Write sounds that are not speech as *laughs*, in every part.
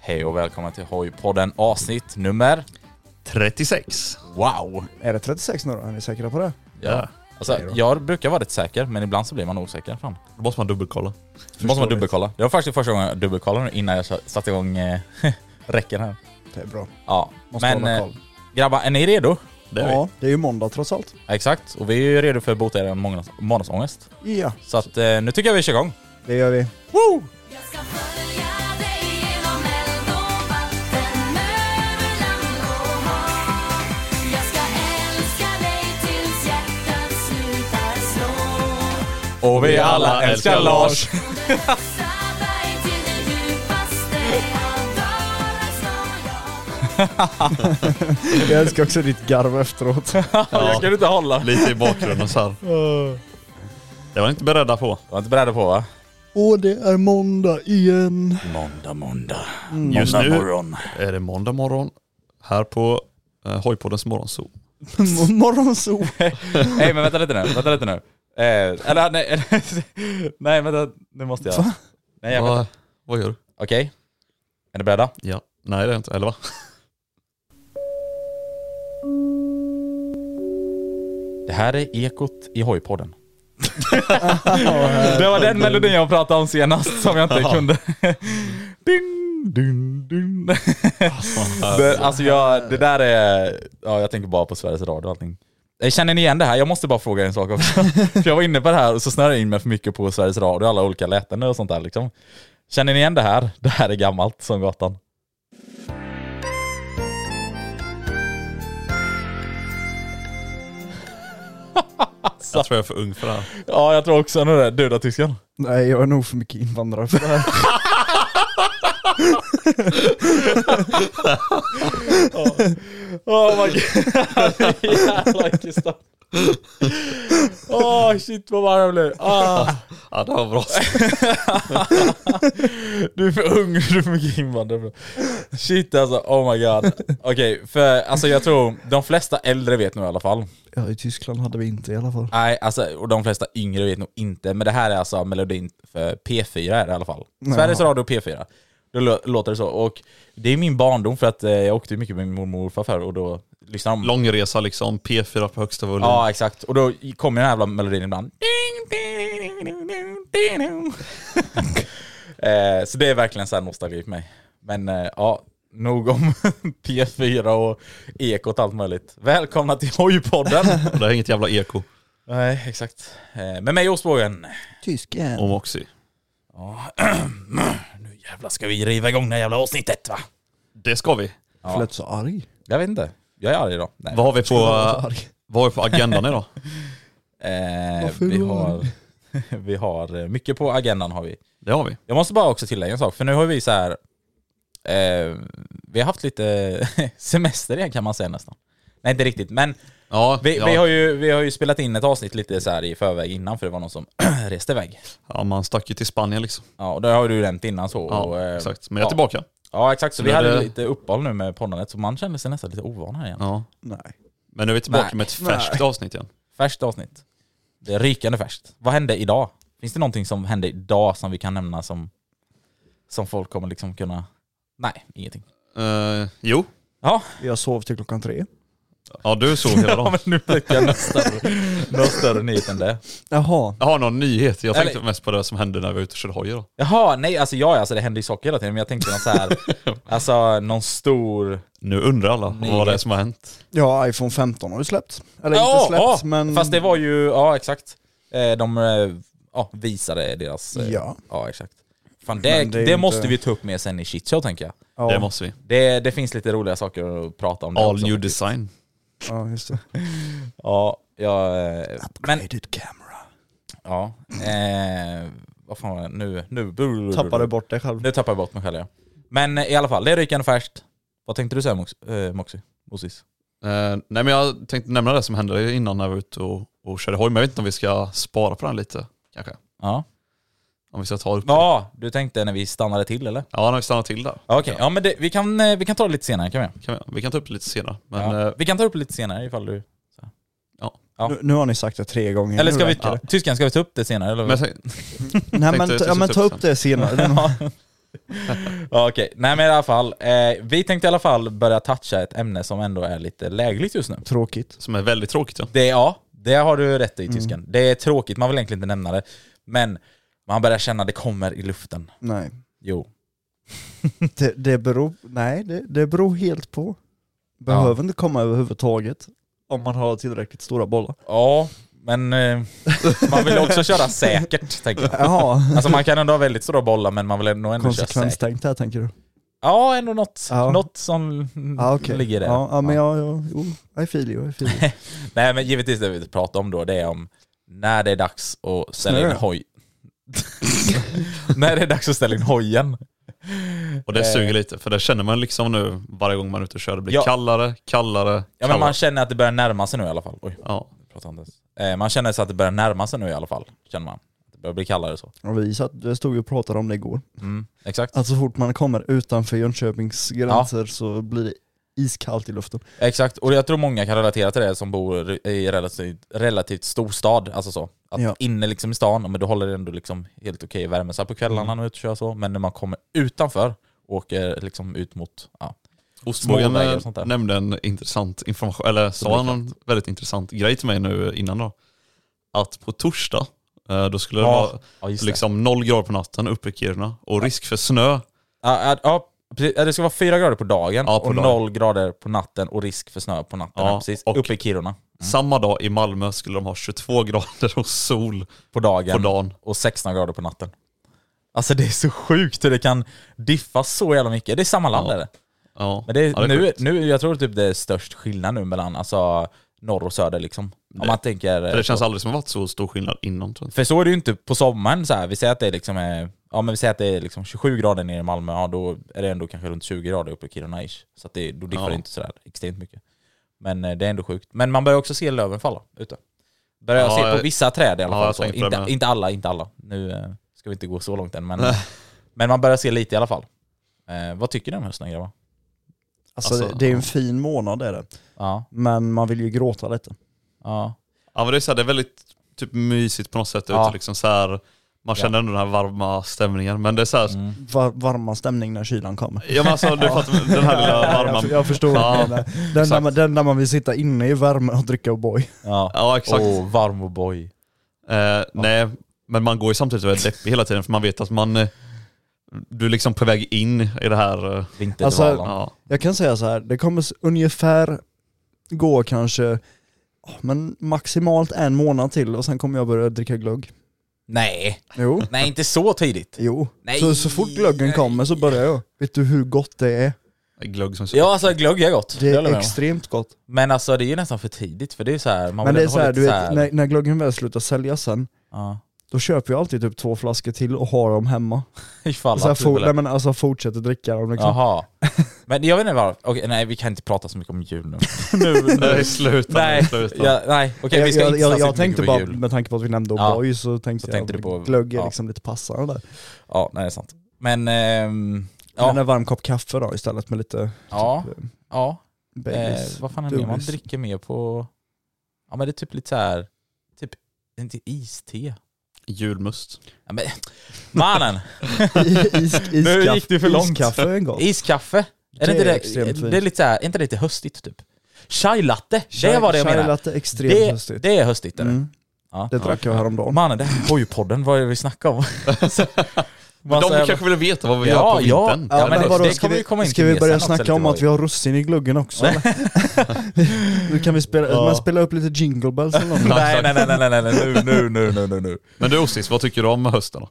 Hej och välkomna till Hojpodden avsnitt nummer... 36. Wow! Är det 36 nu då? Är ni säkra på det? Ja. Alltså, Hej då. jag brukar vara rätt säker, men ibland så blir man osäker. Fan. Då måste man dubbelkolla. Då måste man dubbelkolla. Det var faktiskt första gången jag dubbelkollade nu innan jag sa- satte igång eh, *laughs* räcken här. Det är bra. Ja, Måste men hålla eh, koll. grabbar, är ni redo? Det är ja, det är ju måndag trots allt. Exakt, och vi är ju redo för att bota er måndags- måndagsångest. Ja, Så att eh, nu tycker jag vi kör igång. det gör vi. Och vi alla älskar Lars! Jag älskar också ditt garv *laughs* efteråt. *laughs* jag kan inte hålla. vi. Lite i bakgrunden *laughs* så här. Det var ni inte beredda på. Jag var inte beredd på va? Och det är måndag igen. Måndag, måndag. Just Måndag nu morgon. är det måndag morgon här på eh, Hojpoddens morgonzoo. Morgonzoo. Nej men vänta lite nu, vänta lite nu. Eh, eller *laughs* nej, eller- nej vänta, nu måste jag. Nej, jag Vad, vänta. vad gör du? Okej. Är ni beredda? Ja. Nej det är inte, eller va? Det här är Ekot i Hojpodden. det var den melodin jag pratade om senast som jag inte kunde. ding, ding, ding. det, alltså jag, det där är, ja jag tänker bara på Sveriges Radio och allting. Eh, Känner ni igen det här? Jag måste bara fråga en sak också. *laughs* För jag var inne på det här och så snurrade jag in mig för mycket på Sveriges Radio och alla olika läten och sånt där liksom. Känner ni igen det här? Det här är gammalt som gatan. Jag tror jag är för ung för det här. Ja, jag tror också nu det. Döda tysken. Nej, jag är nog för mycket invandrare för det här. Åh oh my god, *laughs* jävla Gustav. Åh shit vad varm jag blev. Ah, *laughs* Ja det var bra. du är för ung, *laughs* du är för mycket invandrare. bro. Shit alltså, oh my god. Okej, för alltså jag tror de flesta äldre vet nog i alla fall. *laughs* Ja, i Tyskland hade vi inte i alla fall. Nej, alltså och de flesta yngre vet nog inte. Men det här är alltså melodin för P4 är det i alla fall. Sveriges Radio P4. Då lå- låter det så. Och det är min barndom för att eh, jag åkte ju mycket med min mormor och morfar förr och då lyssnade de Långresa liksom, P4 på högsta volym. Ja, exakt. Och då kommer den här jävla melodin ibland. Ding, ding, ding, ding, ding, ding, ding. *laughs* eh, så det är verkligen så här nostalgi för mig. Men eh, ja, nog om *laughs* P4 och Ekot och allt möjligt. Välkomna till *laughs* Hojpodden! Och Det är inget jävla eko. Nej, exakt. Eh, med mig Osbågen. Tysken. Om Oxy. Nu jävlar ska vi riva igång det här jävla avsnittet va? Det ska vi. Jag lät så arg. Jag vet inte. Jag är arg idag. Nej. Vad har vi på, eh, vara så arg. vad har vi på agendan idag? Eh, Varför vi, då? har, *laughs* vi har eh, mycket på agendan har vi. Det har vi. Jag måste bara också tillägga en sak, för nu har vi så här. *laughs* Eh, vi har haft lite semester igen kan man säga nästan. Nej inte riktigt, men Ja, Vi, ja. vi, har ju, vi har ju spelat in ett avsnitt lite så här i förväg innan för det var någon som *clears throat* reste iväg. ja, man stack ju till Spanien liksom. Ja, och det har du ju nämnt innan så. Ja, och, eh, exakt. Men jag är ja. tillbaka. Ja exakt, så Nu vi är hade ju det- lite uppehåll nu med poddandet så man kände sig nästan lite ovan här igen. Ja. Nej. Men nu är vi tillbaka Nej. med ett färskt avsnitt igen. Färskt avsnitt. Det är rykande färskt. Vad hände idag? Finns det någonting som hände idag som vi kan nämna som, som folk kommer liksom kunna... Nej, ingenting. Eh, jo, Ja, Jag sov till klockan tre. ja du såg *laughs* hela ja dagen. men nu fick jag *laughs* någon större, någon större nyhet än det. Jaha. Jag har någon nyhet. Jag tänkte Eller- mest på det som hände när vi var ute och körde hoj idag. Jaha, nej alltså ja, alltså, det händer ju saker hela tiden men jag tänkte någon *laughs* så här, alltså någon stor... Nu undrar alla vad det är som har hänt. Ja, iPhone 15 har ju släppt. Eller Ja, inte släppt, ja, men... Fast det var ju, ja exakt. Eh, De eh, ja, visade deras... eh, Ja. Ja exakt. Fan det, Men det det, är inte- måste vi ta upp med sen i shitshow tänker jag. Ja, Det måste vi. Det, det finns lite roliga saker att prata om. där All också, new faktiskt. design. ja, just det. Ja, jag... eh, Men, Upgraded camera. ja. Eh, vad fan var det? Nu, nu... Tappade bort dig själv. Nu tappade jag bort mig själv ja. Men eh, i alla fall, det är rykande färskt. Vad tänkte du säga Mox- eh, Moxie? Mosis? Eh, nej men jag tänkte nämna det som hände innan när vi var ute och, och körde hoj, men jag vet inte om vi ska spara på den lite kanske. Ja. Om vi ska ta upp det. Ja, du tänkte när vi stannade till eller? Ja, när vi stannar till där. Okej, ja men det, vi, kan, eh, vi kan ta det lite senare kan vi? Kan vi, vi kan ta upp det lite senare. Men, Ja. eh, Mm, Vi kan ta upp det lite senare ifall du... Ja. Nu, nu har ni sagt det tre gånger. Eller ska Nu vi... räcker det. Tyskan, ska vi ta upp det senare eller? men jag tänkte, Nej men, tänkte ta- ja, jag skulle men ta ta upp upp det senare. *laughs* Ja. ja, Okej, nej men i alla fall. Eh, vi tänkte i alla fall börja toucha ett ämne som ändå är lite lägligt just nu. *laughs* Tråkigt. som är väldigt tråkigt ja. Det, ja, det har du rätt i tysken. Mm. Det är tråkigt, man vill egentligen inte nämna det. Men man börjar känna att det kommer i luften. Nej. Jo. Det, det beror... Nej, det, det beror helt på. Behöver inte komma överhuvudtaget. Om man har tillräckligt stora bollar. Ja, men eh, man vill också *laughs* köra säkert, tänker jag. Jaha. Alltså man kan ändå ha väldigt stora bollar men man vill ändå, ändå köra säkert. Konsekvenstänkt här tänker du? Ja, ändå något, Ja. något som Ja okej. ligger där. Ja, ja men Ja. ja, ja, jo, I feel you, I feel you. Nej men givetvis det vi pratar om då, det är om när det är dags att ställa in Snö. hoj. *laughs* när det är dags att ställa in hojen. Och det Eh. suger lite, för det känner man liksom nu varje gång man är ute och kör. Det blir Ja. kallare, kallare, Ja men kallare. man känner att det börjar närma sig nu i alla fall. Oj, Ja. jag pratar inte ens. Eh, man känner sig att det börjar närma sig nu i alla fall, känner man. Det börjar bli kallare så. Och vi satt, jag stod ju och pratade om det igår. Mm, exakt. Att så fort man kommer utanför Jönköpings gränser så blir det iskallt i luften. Exakt, och jag tror många kan relatera till det som bor i relativt, relativt stor stad, alltså så. Att Ja. inne liksom i stan, men då håller det ändå liksom helt okej värme så här på Mm. kvällarna när man är ute och kör så, men när man kommer utanför och åker liksom ut mot, ja. Ostbågen Småvägar eh, och sånt där. nämnde en intressant information, eller sa han en väldigt intressant grej till mig nu innan då. Att på torsdag, eh, då skulle det vara ja, just det. Mm. liksom noll grader på natten uppe i Kiruna och risk för snö. Ja, ja, ja, precis. Ja, det ska vara fyra grader på dagen Ja, på och dagen. noll grader på natten och risk för snö på natten. Ja, Ja, precis. och- Uppe i Kiruna Samma dag i Malmö skulle de ha 22 *laughs* grader och sol på dagen på dagen. och 16 grader på natten. Alltså det är så sjukt hur det kan diffa så jävla mycket. Det är samma land Ja. är det. Ja. Men det är, ja, det är nu, sjukt. nu, jag tror typ det är störst skillnad nu mellan alltså, norr och söder liksom. Om man tänker... För det känns aldrig som det varit så stor skillnad innan tror jag. För så är det ju inte på sommaren så här. Vi säger att det är liksom, eh, ja, men vi säger att det är liksom 27 grader nere i Malmö, ja, då är det ändå kanske runt 20 grader uppe i Kiruna ish. Så att det, då diffar Ja. det inte sådär extremt mycket. Men eh, det är ändå sjukt. Men man börjar också se löven falla ute. Börjar Ja, se på jag- vissa träd i alla ja, fall. jag så. tänkte på det Inte, med. inte alla, inte alla. Nu eh, ska vi inte gå så långt än. Men, men man börjar se lite i alla fall. Eh, vad tycker ni om hösten grabbar? Alltså, Alltså, det, det är en fin månad är det. Ja, Men man vill ju gråta lite. ja. Ja men det är, så här, det är väldigt typ, mysigt på något sätt Ja. ute liksom så här, Man känner ändå den här varma stämningen men det är så här, Mm. Var, varma stämning när kylan kommer. Ja men alltså du *laughs* fattar, den här lilla varma... alltså, Jag, jag förstår Ja. vad du menar. den, där exakt. man, den där man vill sitta inne i värme och dricka O'boy. ja. Ja exakt. Åh, varm och boj. Eh, Nej, men man går ju samtidigt och är deppig hela tiden för man vet att man... eh, Du är liksom på väg in i det här... eh, Vinterdvalan. Alltså, Ja, Jag kan säga så här, det kommer s- ungefär gå kanske åh, men maximalt en månad till och sen kommer jag börja dricka glögg. Nej, Jo. nej inte så tidigt. Jo. Nej. Så, så fort glöggen kommer så börjar jag. Vet du hur gott det är? glögg som Ja alltså glögg är gott. Det Det håller jag är med om. extremt gott. Men alltså det är ju nästan för tidigt för det är ju så här, man vill Men det är ändå så ha här, lite du vet, så här- När, när glöggen väl slutar säljas sen, ja. *laughs* Då köper jag alltid typ två flaskor till och har dem hemma. Ifall Så jag att du for, vill... nej, men alltså fortsätter dricka dem liksom. *laughs* Jaha. Men jag vet inte varför. Okej, nej vi kan inte prata så mycket om jul *laughs* nu. nu, *laughs* Nej, sluta. nej, sluta. ja, nej. Okej vi ska jag, inte jag, jag, satsa jag så mycket tänkte på bara, jul. med tanke på att vi nämnde Ja. O'boy så tänkte Så jag tänkte du att på- glögg är ja. liksom lite passande där. Ja, nej det är sant. Men, ehm, Ja. ja. Men en varm kopp kaffe då istället med lite ja, typ, eh, ja. Eh, Baileys. *laughs* vad fan är det mer man Donuts. dricker mer på? Ja men det är typ lite så här. typ, inte iste. Julmust. Ja, men, mannen! *laughs* Is, *laughs* Nu iskaff- gick du för långt. Iskaffe är gott. Iskaffe? Är det, Det inte är det, extremt det, fint. är lite så här, är inte det lite höstigt typ? Chai latte, det var det jag Chai menade. latte är extremt Det, höstigt. det är höstigt är det. Mm. Ja. Det drack jag häromdagen. Mannen, det här var ju podden, vad är det vi snackar *laughs* om? Men Massa de jävla- kanske vill veta vad vi gör Ja, på ja. vintern. Ja, men det- vadå? det- kommer vi komma in ska till vi det börja sen också, snacka lite om vad att vi har russin i gluggen också eller? *laughs* Nu kan vi spela, man spelar upp lite jingle bells eller något. nej, nej, nej, nej, nej, nej, nu, nu, nu, nu, nu, nu. Men du Ossis, vad tycker du om hösten då?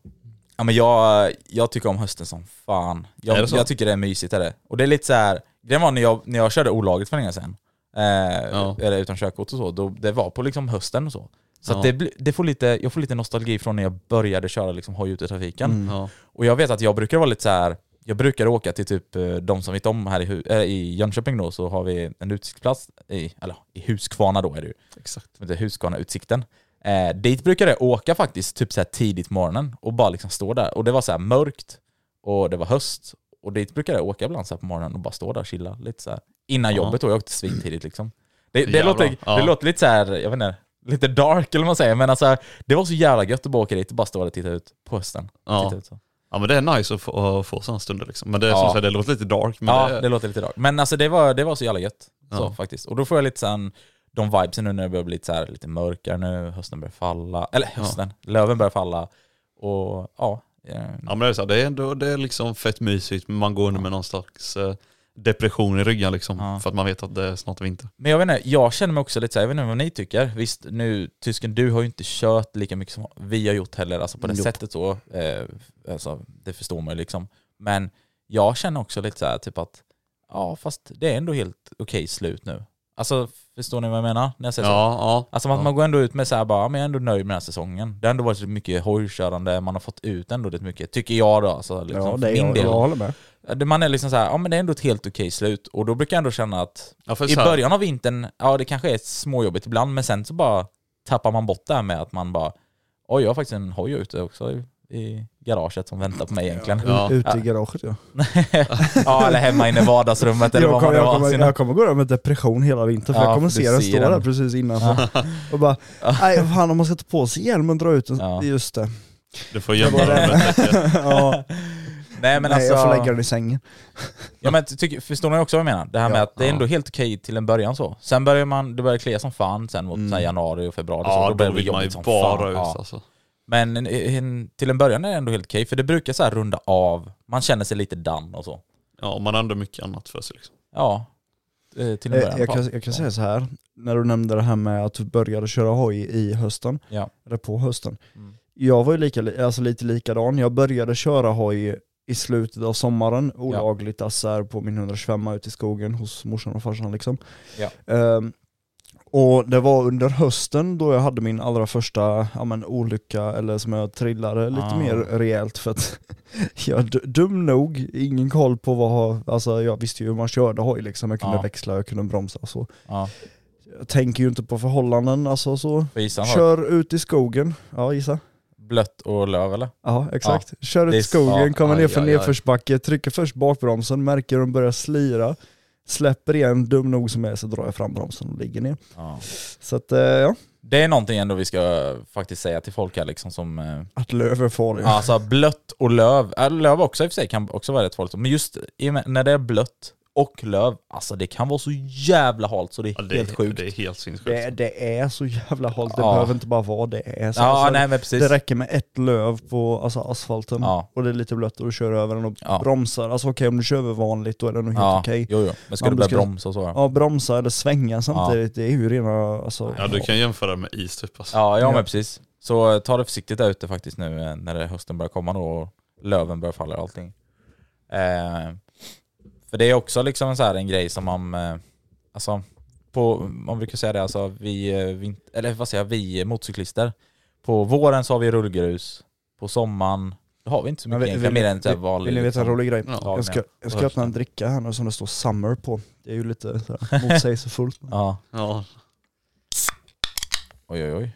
Ja, men jag, jag tycker om hösten som fan. Är Jag, det så? jag tycker det är mysigt. Är det. Och det är lite så här, det var när jag, när jag körde olagligt för länge sedan, eh, Ja. eller utan körkort och så, då, det var på liksom hösten och så. Så Ja. att det, blir- det får lite, jag får lite nostalgi från när jag började köra liksom hoj ute i trafiken. Ja. Och jag vet att jag brukar vara lite så här. jag brukar åka till typ eh, de som vet om här i, hu- eh, i Jönköping då, så har vi en utsiktsplats, i, eller i Huskvarna då är det ju, Exakt. som heter Huskvarna-utsikten. Eh, dit brukade jag åka faktiskt typ så här tidigt på morgonen och bara liksom stå där. Och det var så här mörkt och det var höst. Och dit brukade jag åka ibland så här på morgonen och bara stå där och chilla lite så här. Innan Ja. jobbet då, jag åkte svintidigt liksom. Det, det, Jävlar, låter, ja. det låter lite så här, jag vet inte, lite dark eller vad man säger. Men alltså, det var så jävla gött att bara åka dit och bara stå där och titta ut på hösten. Ja. Titta ut så. Ja men det är nice att få, att få sådana stunder liksom. Men det är Ja. som sagt, det låter lite dark. Men ja, det, det... låter lite dark. Men alltså det var, det var så jävla gött. Så, Ja. faktiskt. Och då får jag lite sån, de vibesen nu när det börjar bli lite, så här, lite mörkare nu, hösten börjar falla, eller hösten, löven börjar falla. Och ja, eh, ja men det är så här, det är ändå, det är liksom fett mysigt men man går under med någon slags eh, depression i ryggen liksom. Ja. För att man vet att det är snart vinter. Men jag vet inte, jag känner mig också lite såhär, jag vet inte vad ni tycker. Visst, nu tysken, du har ju inte kört lika mycket som vi har gjort heller, alltså på det Nope. sättet så. Eh, alltså, det förstår man ju liksom. Men jag känner också lite såhär, typ att, ja fast det är ändå helt okej slut nu. Alltså, förstår ni vad jag menar? När jag Ja, säger så? ja. Alltså att ja. man går ändå ut med såhär bara, ja, men jag är ändå nöjd med den här säsongen. Det har ändå varit så mycket hojkörande, man har fått ut ändå rätt mycket, tycker jag då. Alltså, *laughs* liksom, Ja, för det är min jag, del. jag håller med. Ja, det- Man är liksom såhär, ja men det är ändå ett helt okej slut. Och då brukar jag ändå känna att Ja, för i så här- början av vintern, ja det kanske är småjobbigt ibland, men sen så bara tappar man bort det här med att man bara Oj, jag har faktiskt en hoj ute också i, i garaget som väntar på mig egentligen. Ja. Ute i garaget ja. *laughs* ja eller hemma inne i vardagsrummet eller Jag vad man kommer, nu jag, har kommer, sina... jag kommer gå där med depression hela vintern för Ja, jag kommer för du se den ser stå den. där precis innanför. *laughs* Och bara, nej fan om man sätter på sig hjälmen och drar ut den. Ja. Just det. Du får gömma den under *laughs* täcket. Ja. Nej men nej, alltså, jag får lägga den i sängen. ja, men tycker, förstår ni också vad jag menar? Det här med Ja. att det är ändå helt okej till en början så. Sen börjar man, det börjar klia som fan sen mot så här januari och februari så. Mm. Ja, Alltså, då börjar det bli vill man ju jobbigt som bara fan. ut Ja. alltså. Men en, en, till en början är det ändå helt okej, för det brukar så här runda av. Man känner sig lite down och så. Ja, och man har ändå mycket annat för sig liksom. Ja, eh, till en början. Jag, jag, kan, Ja. jag kan säga så här. när du nämnde det här med att du började köra hoj i hösten, Ja. eller på hösten. Mm. Jag var ju lika, li- alltså lite likadan, jag började köra hoj i slutet av sommaren, olagligt alltså här på min 125 ute i skogen hos morsan och farsan liksom. Ja. Ehm, och det var under hösten då jag hade min allra första ja, men, olycka, eller som jag trillade lite Ah. mer rejält för att *laughs* jag är d- dum nog, ingen koll på vad, alltså jag visste ju hur man körde hoj liksom, jag kunde Ja. växla, jag kunde bromsa och så. Ja, Jag tänker ju inte på förhållanden alltså så. för gissar han då? Kör ut i skogen, ja gissa. Blött och löv eller? Ja, exakt. Kör ut Det är i skogen, så- kommer ner aj, för aj, aj. nedförsbacke, trycker först bakbromsen, märker hur den börjar slira, släpper igen, dum nog som jag är så drar jag fram bromsen och ligger ner. Ja. Så att eh, ja, Det är någonting ändå vi ska faktiskt säga till folk här liksom som... eh, att löv är farligt. Alltså blött och löv, äh, löv också i och för sig kan också vara rätt farligt. Men just i och med- när det är blött och löv, alltså det kan vara så jävla halt så det är Ja, det, helt sjukt. Det Det, är helt sinnessjukt. Det, det är så jävla halt, det Ja. behöver inte bara vara det. Är så, ja, alltså, nej men precis. det räcker med ett löv på alltså, asfalten Ja. och det är lite blött och du kör över den och Ja. bromsar. Alltså okej om du kör över vanligt då är det nog helt ja, okej. jo, jo. Men ska Ja, du men börja ska- bromsa och så? Ja, Ja, bromsa eller svänga samtidigt, det är ju rena... Alltså, Ja, du kan jämföra med is typ alltså. ja, ja Ja. men precis. Så eh, ta det försiktigt där ute faktiskt nu eh, när det hösten börjar komma då och löven börjar falla och allting. Eh, för det är också liksom en, så här, en grej som man, eh, alltså, på, man brukar säga det, alltså vi, eh, vin- eller vad säger jag, vi eh, motorcyklister, På våren så har vi rullgrus. På sommaren, då har vi inte så mycket Men vi- egentligen, vill- mer än typ vill- vanlig. Vill ni veta en rolig grej? Ja. Jag ska, jag ska öppna en dricka här nu som det står summer på. Det är ju lite så *laughs* här motsägelsefullt. men Ja. Ja. Oj oj oj.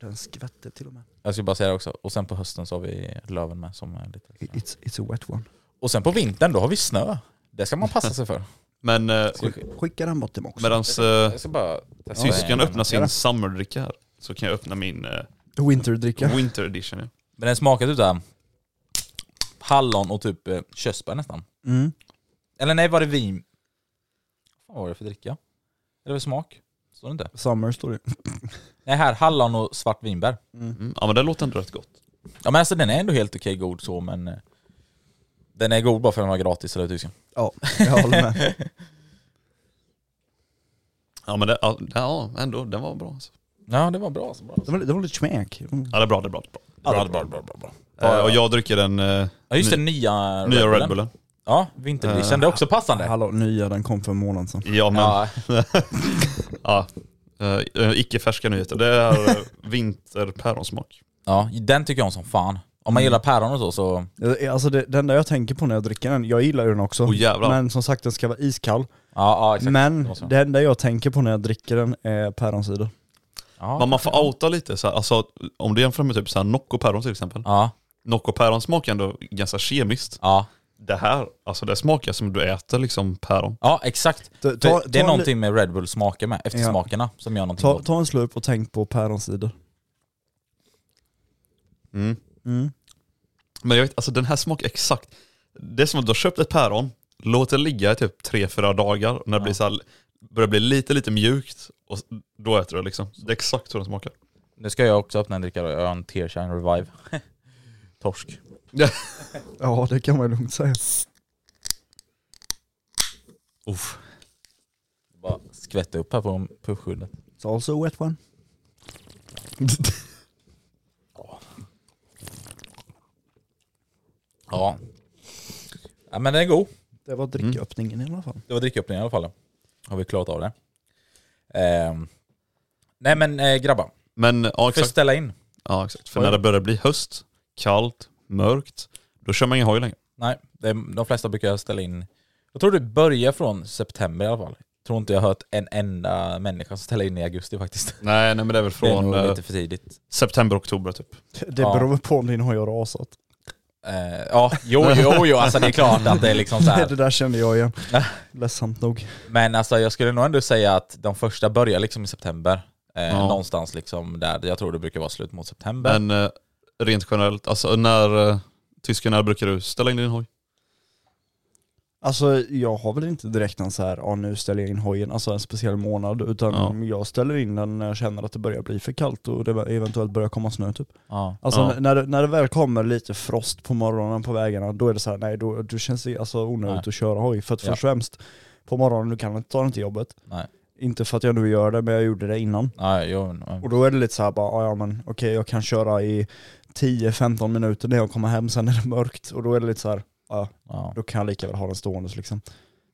Den skvätter till och med. Jag skulle bara säga det också. Och sen på hösten så har vi löven med som är lite... It's, it's a wet one. Och sen på vintern, då har vi snö. Det ska man passa sig för. Men eh, Ska vi- Skicka den bort till mig också. medans eh, Jag ska bara testa. Tyskan den. öppnar sin summerdricka här så kan jag öppna min eh, Winterdricka. winter edition. Ja. Men den smakar typ såhär hallon och typ eh, körsbär nästan. Mm. Eller nej, var det vin? Vad var det för dricka? Eller för smak? Står det inte? Summer står det. Nej här, hallon och svart vinbär. Mm. ja men det låter ändå rätt gott. Ja men alltså den är ändå helt okej god så men eh, Den är god bara för att den var gratis eller tysken. Ja, *laughs* jag håller med. Ja men det, ja, det- ja, ändå, den var bra alltså. Ja det var bra. Så bra. Det var, li- det var lite smäk. Mm. Ja det är bra, det är bra. Det är bra. Bra, bra, bra, bra, bra. Eh, och jag dricker den eh, Ja just ny- den nya nya Red Bullen. Bullen. Ja, vinteredition. det är också passande. Hallå, nya den kom för en månad sedan. Ja men, ja. Ja, eh, icke färska nyheter. Det är eh, *laughs* vinterpäronsmak. ja, den tycker jag om som fan. Om man gillar päron och så så... Jag- Alltså det, det enda jag tänker på när jag dricker den, jag gillar ju den också. Åh, jävlar. men som sagt den ska vara iskall. Ja, ja exakt. men måste jag. det enda jag tänker på när jag dricker den är päronsider. ja, Men man får outa lite så här, alltså om du jämför med typ så här Nocco päron till exempel. Ja, Nocco päron smakar ändå ganska kemiskt. ja. Det här, alltså det smakar som du äter liksom päron. Ja exakt. Ta- För ta- det är ta- någonting med Red Bull smaker med, eftersmakerna som gör någonting Ta, gott. ta en slurp och tänk på päronsider. Mm. Mm. Men jag vet, alltså den här smakar exakt. Det är som att du har köpt ett päron, låter det ligga i typ 3-4 dagar, när det blir så här, börjar bli lite lite mjukt, och s- då äter du det liksom. Det är exakt så den smakar. Nu ska jag också öppna en dricka då. Jag har en Tearshine Revive. *laughs* Torsk. Ja det kan man lugnt säga. Uff. Bara skvätta upp här på puffskyddet. It's also a wet one. Ja. ja. men den är god. Det var dricköppningen i alla fall. Det var dricköppningen i alla fall. Har vi klarat av det. Ehm. Nej men eh, grabbar, Men ja får exakt. ställa in. ja exakt. För när det börjar bli höst, kallt, mörkt, då kör man ingen hoj längre. Nej, det, de flesta brukar ställa in. Jag tror det börjar från september i alla fall. Tror inte jag har hört en enda människa som ställer in i augusti faktiskt. Nej, nej men det är väl Det är från nog eh, lite för tidigt. september, oktober typ. Det Mm. Ja. beror på om din hoj har rasat. Eh, ja, jo, jo, jo, alltså det är klart att det är liksom *laughs* så *laughs* det här. där kände jag igen. Ja. Ledsamt nog. Men alltså jag skulle nog ändå säga att de första börjar liksom i september. Eh, Ja. Någonstans liksom där, jag tror det brukar vara slut mot september. Men eh, rent generellt, alltså när eh, tysken när brukar du ställa in din hoj? Alltså jag har väl inte direkt en så här, ja nu ställer jag in hojen, alltså en speciell månad, utan Ja. jag ställer in den när jag känner att det börjar bli för kallt och det eventuellt börjar komma snö typ. ja. Alltså Ja. n- när, det- när det väl kommer lite frost på morgonen på vägarna, då är det så här, nej då, då känns det alltså onödigt Nej. att köra hoj. För att Ja. först och främst, på morgonen du kan inte ta den till jobbet. Nej. Inte för att jag nu gör det, men jag gjorde det innan. Ja, jo, ja. Och då är det lite så här bara, "Ah, ja men okej jag kan köra i 10-15 minuter när jag kommer hem, sen är det mörkt. Och då är det lite så här, ja Ja, då kan jag lika väl ha den stående liksom.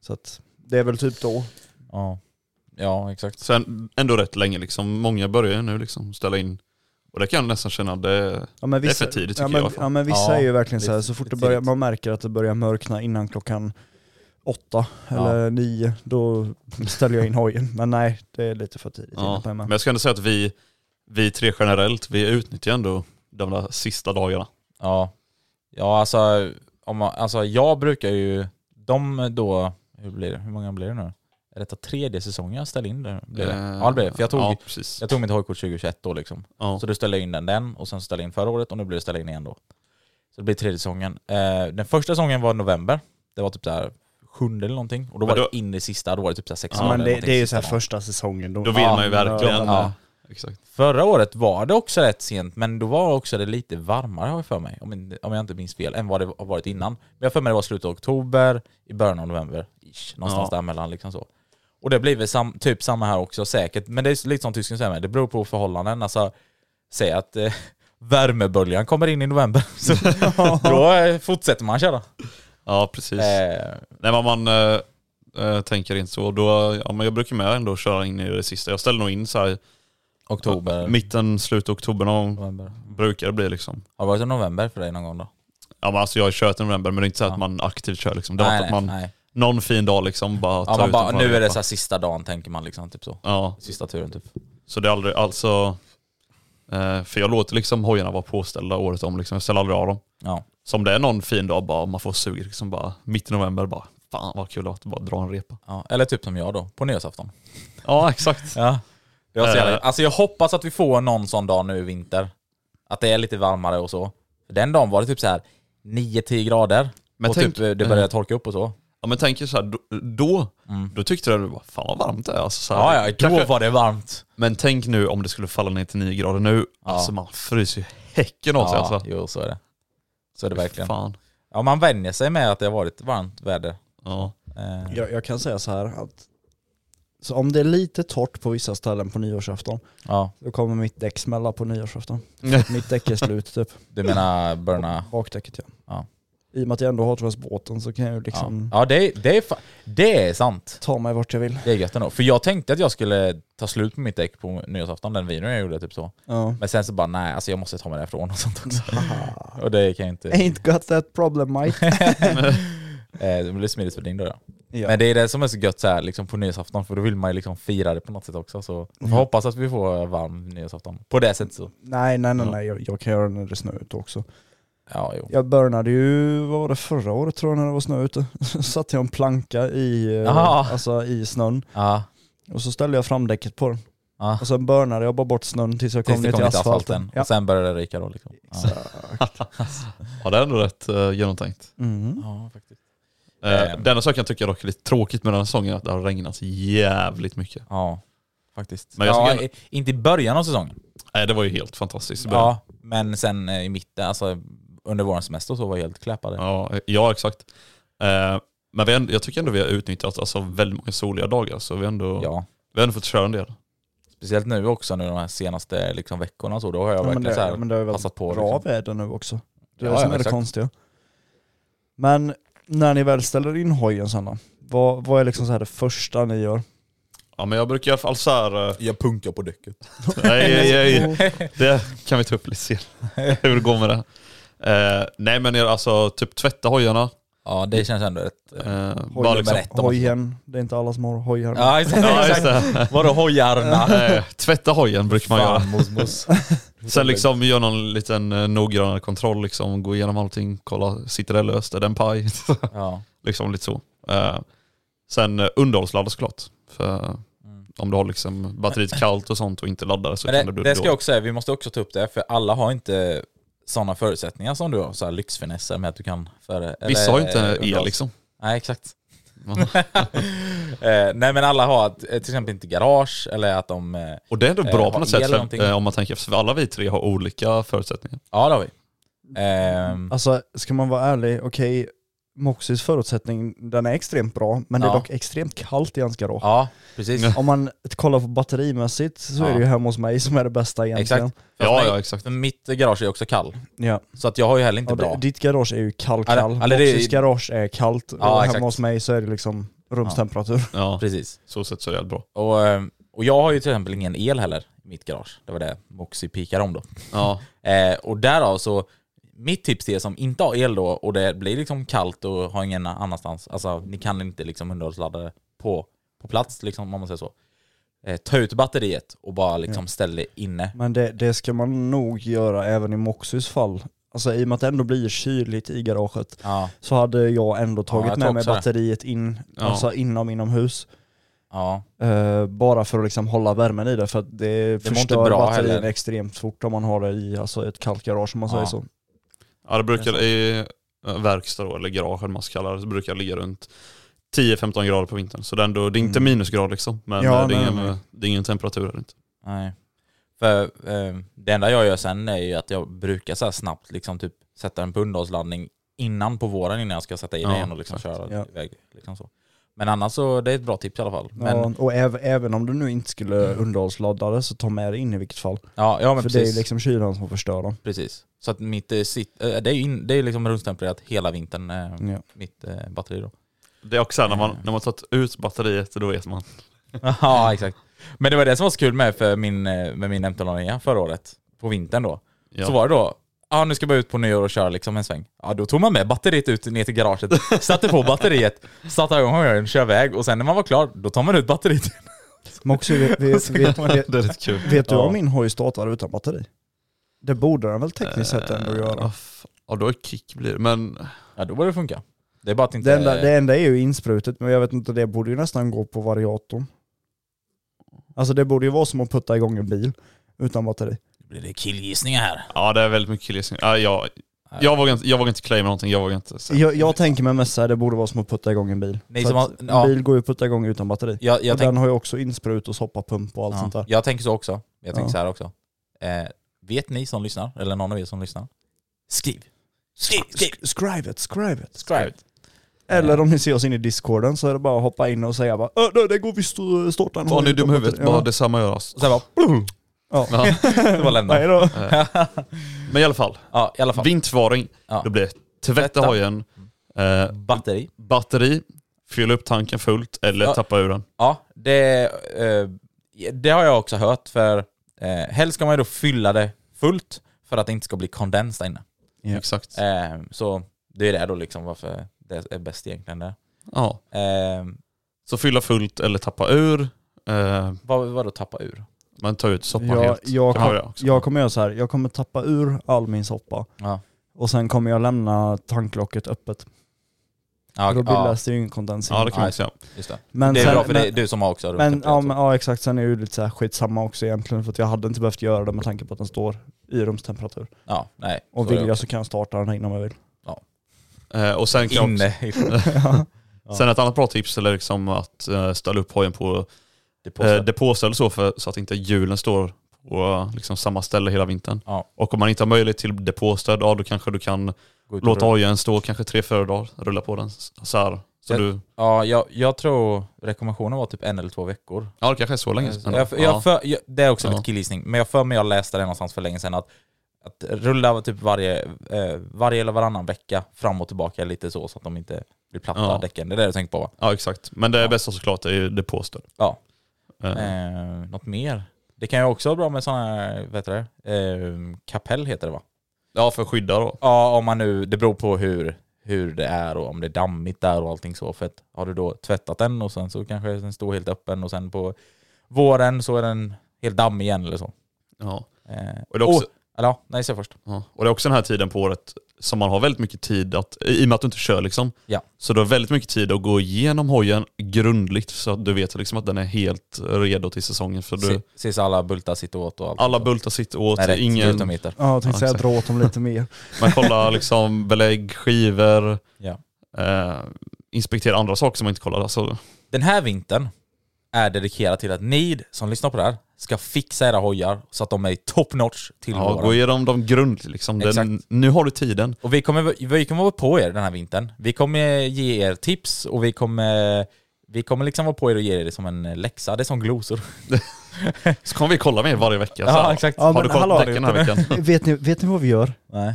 Så att det är väl typ då. ja. ja, exakt. Sen ändå rätt länge liksom. Många börjar ju nu liksom ställa in. Och det kan jag nästan känna, det, Ja, men Det är för tidigt tycker ja, men, jag i alla fall. Ja men vissa Ja, är ju verkligen det så är här, så fort för det börjar, tidigt. man märker att det börjar mörkna innan klockan åtta eller nio, då ställer jag in hojen. Men nej, det är lite för tidigt. ja. Ja, Men jag ska ändå säga att vi, vi tre generellt, vi utnyttjar ändå de där sista dagarna. Ja, ja alltså, om man, alltså jag brukar ju, de då, hur blir det? Hur många blir det nu? Är detta tredje säsongen jag ställer in det? Blir det? Eh, Ja det blir det, för jag tog, Ja, precis. jag tog mitt hojkort 2021 då liksom. Ja. Så du ställer jag in den, den och sen ställer jag in förra året och nu blir det ställa in igen då. Så det blir tredje säsongen. Eh, den första säsongen var i november. Det var typ där sjunde eller någonting. Och då Men var då- det in i sista, då var det typ såhär sex men det, någonting det är ju sista så här dagen. första säsongen. Då vill man ju Ja, verkligen. ja. Ja. Exakt. Förra året var det också rätt sent, men då var också det lite varmare har jag för mig, om, inte- om jag inte minns fel, än vad det har varit innan. Men jag har för mig det var slutet av oktober, i början av november, ish, någonstans Ja. där mellan liksom så. Och det blir väl sam, typ samma här också säkert, men det är lite som tysken säger med, det beror på förhållanden. Alltså, säg att eh, *laughs* värmeböljan kommer in i november, *laughs* *laughs* så då eh, fortsätter man köra. Ja precis. Eh, Nej men man eh, eh, tänker inte så. Då, ja, men jag brukar med ändå köra in i det sista. Jag ställer nog in så här Oktober? Mitten, slut oktober någon gång november. brukar det bli liksom. Har det varit i november för dig någon gång då? Ja men alltså jag har kört i november men det är inte så Ja. att man aktivt kör liksom. Det har varit att man nej. någon fin dag liksom bara Ja, tar man ut bara, en nu är det resa. så här sista dagen tänker man liksom, typ så. Ja, Sista turen typ. så det är aldrig alltså... Eh, för jag låter liksom hojarna vara påställda året om liksom. Jag ställer aldrig av dem. Ja. Så om det är någon fin dag bara man får suget liksom bara mitt i november bara fan vad kul att bara dra en repa. ja. Eller typ som jag då, på nyårsafton. Ja *laughs* exakt. Ja. Det var så Eh. jävla... Alltså jag hoppas att vi får någon sån dag nu i vinter. Att det är lite varmare och så. Den dagen var det typ så här 9-10 grader. Men och tänk- typ eh, det började torka upp och så. Ja men tänk er så här, då, då, då tyckte du bara fan vad varmt det är. Alltså, så här, Ja, Mm. ja, då kanske- var det varmt. Men tänk nu om det skulle falla ner till 9 grader nu. Alltså man fryser ju häcken av sig Ja, alltså. jo så är det. Så är det verkligen. Fan. Ja, man vänjer sig med att det har varit varmt väder. Ja. Eh, Jag, jag kan säga så här att så om det är lite torrt på vissa ställen på nyårsafton, ja, då kommer mitt däck smälla *laughs* på nyårsafton. mitt däck är slut typ, du menar burna? bakdäcket ja. Ja. I och med att jag ändå har transbåten så kan jag Ja, ju Mm. liksom ja det, det, är fa- det är sant. ta mig vart jag vill. *laughs* Det är gött ändå. För jag tänkte att jag skulle ta slut på mitt däck på nyårsafton, den videon jag gjorde typ så. Ja. Men sen så bara nej, alltså jag måste ta mig därifrån och sånt *laughs* också. och det kan jag inte... Ain't got that problem mate. *laughs* Eh, det blir smidigt för din då. Ja. ja. Men det är det som är så gött så här, liksom på nyårsafton, för då vill man ju liksom fira det på något sätt också. Så jag Mm. hoppas att vi får varm nyårsafton. På det sättet så. Nej nej nej, nej jag, jag kan göra det när det snöar ute också. Ja, jo. Jag börnade ju, vad var det förra året tror jag när det var snö ute? *laughs* Så satte jag en planka i, eh, Aha. alltså, i snön Ja. och så ställde jag framdäcket på den. Ja. Och sen börnade jag bara bort snön tills jag Tills kom det ner till kom till asfalten. asfalten. Ja. Och sen började det ryka då liksom. Ja. ja det är ändå rätt eh, genomtänkt. Mhm. Ja, faktiskt. Eh, Ehm. Det enda saken jag tycker dock är lite tråkigt med den här säsongen är att det har regnat jävligt mycket. Ja, faktiskt. Men jag ja, tycker- i- Inte i början av säsongen. Nej Eh, det var ju helt fantastiskt. i början. Ja, men sen eh, i mitten, alltså under våran semester och så var jag helt kläpade. ja, ja exakt. Eh, men vi, har ändå- jag tycker ändå vi har utnyttjat alltså, väldigt många soliga dagar så vi har ändå, Ja. vi har ändå fått köra en del. Speciellt nu också, nu de här senaste liksom, veckorna och så, då har jag Ja, men verkligen det, så här, men det har ju varit passat på. bra Liksom. väder nu också. Det är Ja, det som ja, är det exakt. konstiga. Men när ni väl ställer in hojen sen då? Vad, vad är liksom så här det första ni gör? Ja men jag brukar i alla fall så här... eh, *laughs* Jag punkar på däcket. nej, nej, nej. Det kan vi ta upp lite *laughs* senare, hur det går med det. Eh, nej men jag, alltså typ tvätta hojarna. Ja, det känns ändå rätt... eh, Eh, bara Hojen, liksom, berätta vad som- hojen, det är inte alla som har hojar. Ja, exakt. *laughs* ja, just det. Vadå *laughs* hojarna? Eh, tvätta hojen brukar man göra. Fan, mosmos. Sen liksom gör någon liten eh, noggrannare kontroll, liksom, gå igenom allting, kolla, sitter det löst, är det en paj? *laughs* Ja. liksom lite så. Eh, sen eh, underhållsladda såklart. För om du har liksom batteriet kallt och sånt och inte laddar det så Mm. Men kan det det, bli det ska jag dåligt. också säga, vi måste också ta upp det, för alla har inte sådana förutsättningar som du har, så här lyxfinesser med att du kan... För, eller, Vissa har ju eh, inte el underhålls- liksom. Nej, exakt. *laughs* eh, nej men alla har att, eh, till exempel inte garage eller att de... Eh, Och det är ändå Eh, bra ha på något el sätt, eller någonting. för, eh, om man tänker efter, för alla vi tre har olika förutsättningar. ja det har vi. Ehm, Alltså ska man vara ärlig, okej, Moxys förutsättning den är extremt bra, men det Ja. är dock extremt kallt i hans garage. ja, precis. Ja, Om man kollar på batterimässigt så Ja. är det ju hemma hos mig som är det bästa *laughs* egentligen. Exakt. Ja, nej, ja exakt. För mitt garage är också kall, Ja. så att jag har ju heller inte Ja, bra. d- ditt garage är ju Ja, det- kall-kall, eller det är- Moxys garage är kallt Ja, och exakt. hemma hos mig så är det liksom rumstemperatur. Ja, Precis. så sett så är det *laughs* bra. Och, eh, och jag har ju till exempel ingen el heller i mitt garage. Det var det Moxie pikade om då. Ja, Eh, och därav så, mitt tips till er som inte har el då och det blir liksom kallt och har ingen annanstans, alltså ni kan inte liksom underhållsladda det på, på plats liksom om man säger så. Eh, ta ut batteriet och bara liksom ställ det inne. Men det, det ska man nog göra även i Moxys fall. Alltså i och med att det ändå blir kyligt i garaget Ja, så hade jag ändå tagit jag tror med mig också det. batteriet in, alltså inom inomhus. ja, Eh, bara för att liksom hålla värmen i det för att det, inte förstör bra batterin heller. extremt fort om man har det i alltså ett kallt garage om man Ja. säger så. ja det brukar i eh, verkstad då, eller garage eller vad man ska kalla det, så brukar det ligga runt 10-15 grader på vintern. Så det är, ändå, det är inte Mm. minusgrad liksom, men Ja, eh, det, är nej, ingen, nej. eh, det är ingen temperatur här inte. nej. För eh, det enda jag gör sen är ju att jag brukar så här snabbt liksom typ sätta en på underhållsladdning innan på våren innan jag ska sätta i den Ja, igen och liksom exakt. köra Ja. iväg. Liksom så. Men annars så, det är ett bra tips i alla fall. Men, Ja, ja, och äv, även om du nu inte skulle underhållsladda det så ta med det in i vilket fall. ja, men för precis. det är liksom kylan som förstör dem. Precis. Så att mitt eh, sitt, eh, det är ju in, det är liksom rumstempererat hela vintern, eh, Ja. mitt eh, batteri då. *laughs* Det är också här, när man, när man tagit ut batteriet, då vet man. ja, exakt. Men det var det som var så kul med, för min, eh, med min MT09 förra året, på vintern då. Ja. Så var det då, ja nu ska jag bara ut på nyår och köra liksom en sväng. Ja då tog man med batteriet ut ner till garaget, *laughs* satte på batteriet, satte igång hojen, kör iväg och sen när man var klar, då tar man ut batteriet. *laughs* Men också, vet, vet, vet, vet, Det är lite kul. vet du Ja. om min hoj startar utan batteri? Det borde den väl tekniskt sett ändå Eh, göra? vad fan. Ja då är kick blir det. Men Ja då borde det funka. Det är bara att inte... Det enda, det enda är ju insprutet, men jag vet inte, det borde ju nästan gå på variatorn. Alltså det borde ju vara som att putta igång en bil utan batteri. blir det killgissningar här. ja det är väldigt mycket killgissning. Ja, jag, jag, vågar inte, jag vågar inte claima någonting, jag vågar inte säga. Jag, jag tänker mig mest såhär, det borde vara som att putta igång en bil. Nej, För som att att- ja. En bil går ju att putta igång utan batteri. Jag, jag och tänk, den har ju också insprut och soppapump och allt sånt ja, där. jag tänker så också. Jag tänker Ja. så här också. Eh, vet ni som lyssnar, eller någon av er som lyssnar? Skriv. Skriv, skriv, Sk- Scribe it, scribe it. skriv. Eh. Eller om ni ser oss in i discorden så är det bara att hoppa in och säga bara "Ö, nej, det går visst att eh, starta en Var hoj ni dum i utan huvudet, batteri." bara detsamma göras. Och sen bara... Ja. Ja. *laughs* Det var lämna. Nej då. Men i alla fall, Ja, i alla fall. vintfaring, Ja. då blir det tvätta Tvätta. hojen, eh, Batteri. batteri, fyll upp tanken fullt eller Ja. tappa ur den. Ja, det, eh, det har jag också hört för eh, helst ska man ju då fylla det fullt för att det inte ska bli kondens där inne. Exakt. Eh, så det är det då liksom varför det är bäst egentligen där. Ja. Eh, Så fylla fullt eller tappa ur. Eh, vad, vad då tappa ur? man tar ut soppan Jag, helt. jag, Kan man kom, göra också. jag kommer göra så här. jag kommer tappa ur all min soppa Ja. och sen kommer jag lämna tanklocket öppet. Ja, Då ja, bildas det ju ingen kondens. Ja det kan man Nej. säga. just det. men det är sen, bra för men, det är du som har också runt men, uppe ja, också. men, ja exakt, sen är det ju lite så här skitsamma också egentligen för att jag hade inte behövt göra det med tanke på att den står i rumstemperatur. ja, nej. Och så är vill det jag så kan jag starta den här innan jag vill. Eh, och sen också. kan *laughs* jag Inne i Eh, också, Sen ett annat bra tips är liksom att eh, ställa upp hojen på eh, depåsen. depåställ så, för, så att inte hjulen står på eh, liksom, samma ställe hela vintern. Ja. Och om man inte har möjlighet till depåstöd, ja, då kanske du kan Gå ut och låta rulla. hojen stå kanske tre, fyra dagar, rulla på den s- så här. Så Ja. du, Ja, jag, jag tror rekommendationen var typ en eller två veckor. ja det kanske är så länge sedan. Jag, jag, ja. för, jag, det är också Ja. lite killgissning, men jag för mig jag läste det någonstans för länge sedan att, att rulla typ varje, eh, varje eller varannan vecka fram och tillbaka lite så, så att de inte blir platta Ja. däcken. Det är det du tänker på va? ja exakt. Men det Ja. bästa såklart är ju depåstöd. Ja. Eh, Eh, något mer? Det kan ju också vara bra med sådana här, vad heter det? Eh, kapell heter det va? ja för att skydda då. Ja, om man nu, det beror på hur, hur det är och om det är dammigt där och allting så. För att har du då tvättat den och sen så kanske den står helt öppen och sen på våren så är den helt dammig igen eller så. Ja. Eh, Och det är också- åh, eller ja, nej, säg först. Ja. Och det är också den här tiden på året som man har väldigt mycket tid att, i och med att du inte kör liksom, Ja. så du har väldigt mycket tid att gå igenom hojen grundligt så att du vet liksom att den är helt redo till säsongen. För du, Se- Ses alla bultar sitter åt och allt. alla bultar sitter åt, Nej, rätt, ingen, glutamiter. Ja, jag tänkte Ja, säga dra åt dem lite mer. man kollar liksom belägg, skivor, Ja. eh, inspekterar andra saker som man inte kollar. Alltså, Den här vintern är dedikerad till att ni som lyssnar på det här ska fixa era hojar så att de är i top notch till ja, gå våren. igenom dem grundligt liksom. Den, Exakt. nu har du tiden. Och vi kommer, vi kommer vara på er den här vintern. Vi kommer ge er tips och vi kommer, vi kommer liksom vara på er och ge er det som en läxa. Det är som glosor. Så kommer vi kolla med er varje vecka. Ja, så här, exakt. Ja, har men du kollat hallå, däcken den här veckan? *laughs* vet, ni, vet ni vad vi gör? Nej.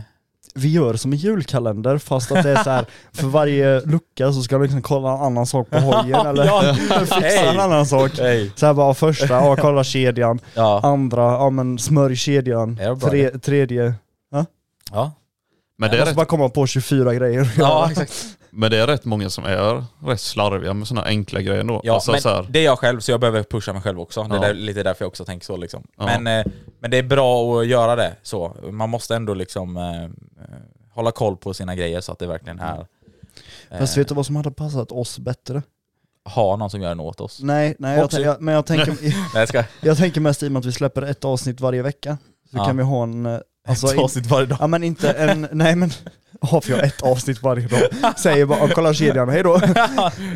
Vi gör som en julkalender fast att det är så här för varje lucka så ska du liksom kolla en annan sak *laughs* på hojen eller Ja. fixa en annan sak. Hej. Så här bara första, ja kolla kedjan. *laughs* Ja. Andra, ja men smörj kedjan. Det är bra Tre, tredje, Ja. Men det, är jag måste rätt, bara komma på 24 grejer. ja, exakt. men det är rätt många som är rätt slarviga med sådana enkla grejer ändå. Ja, alltså, men så här, Det är jag själv, så jag behöver pusha mig själv också. Det är Ja. där, lite därför jag också tänker så. Liksom. Ja. Men, eh, men det är bra att göra det så. Man måste ändå liksom eh, eh, hålla koll på sina grejer så att det verkligen är... Eh, Fast vet du vad som hade passat oss bättre? ha någon som gör den åt oss. Nej, nej jag, Också. tän- jag, men jag tänker, Nej, jag ska *laughs* jag tänker mest i och med att vi släpper ett avsnitt varje vecka. Så Ja. kan vi ha en, eh, alltså, ta in, sitt varje dag. ja men inte *laughs* en, nej men, *laughs* har vi har ett avsnitt varje dag? Säger bara, "Ja, kolla kedjan, hejdå. Nej,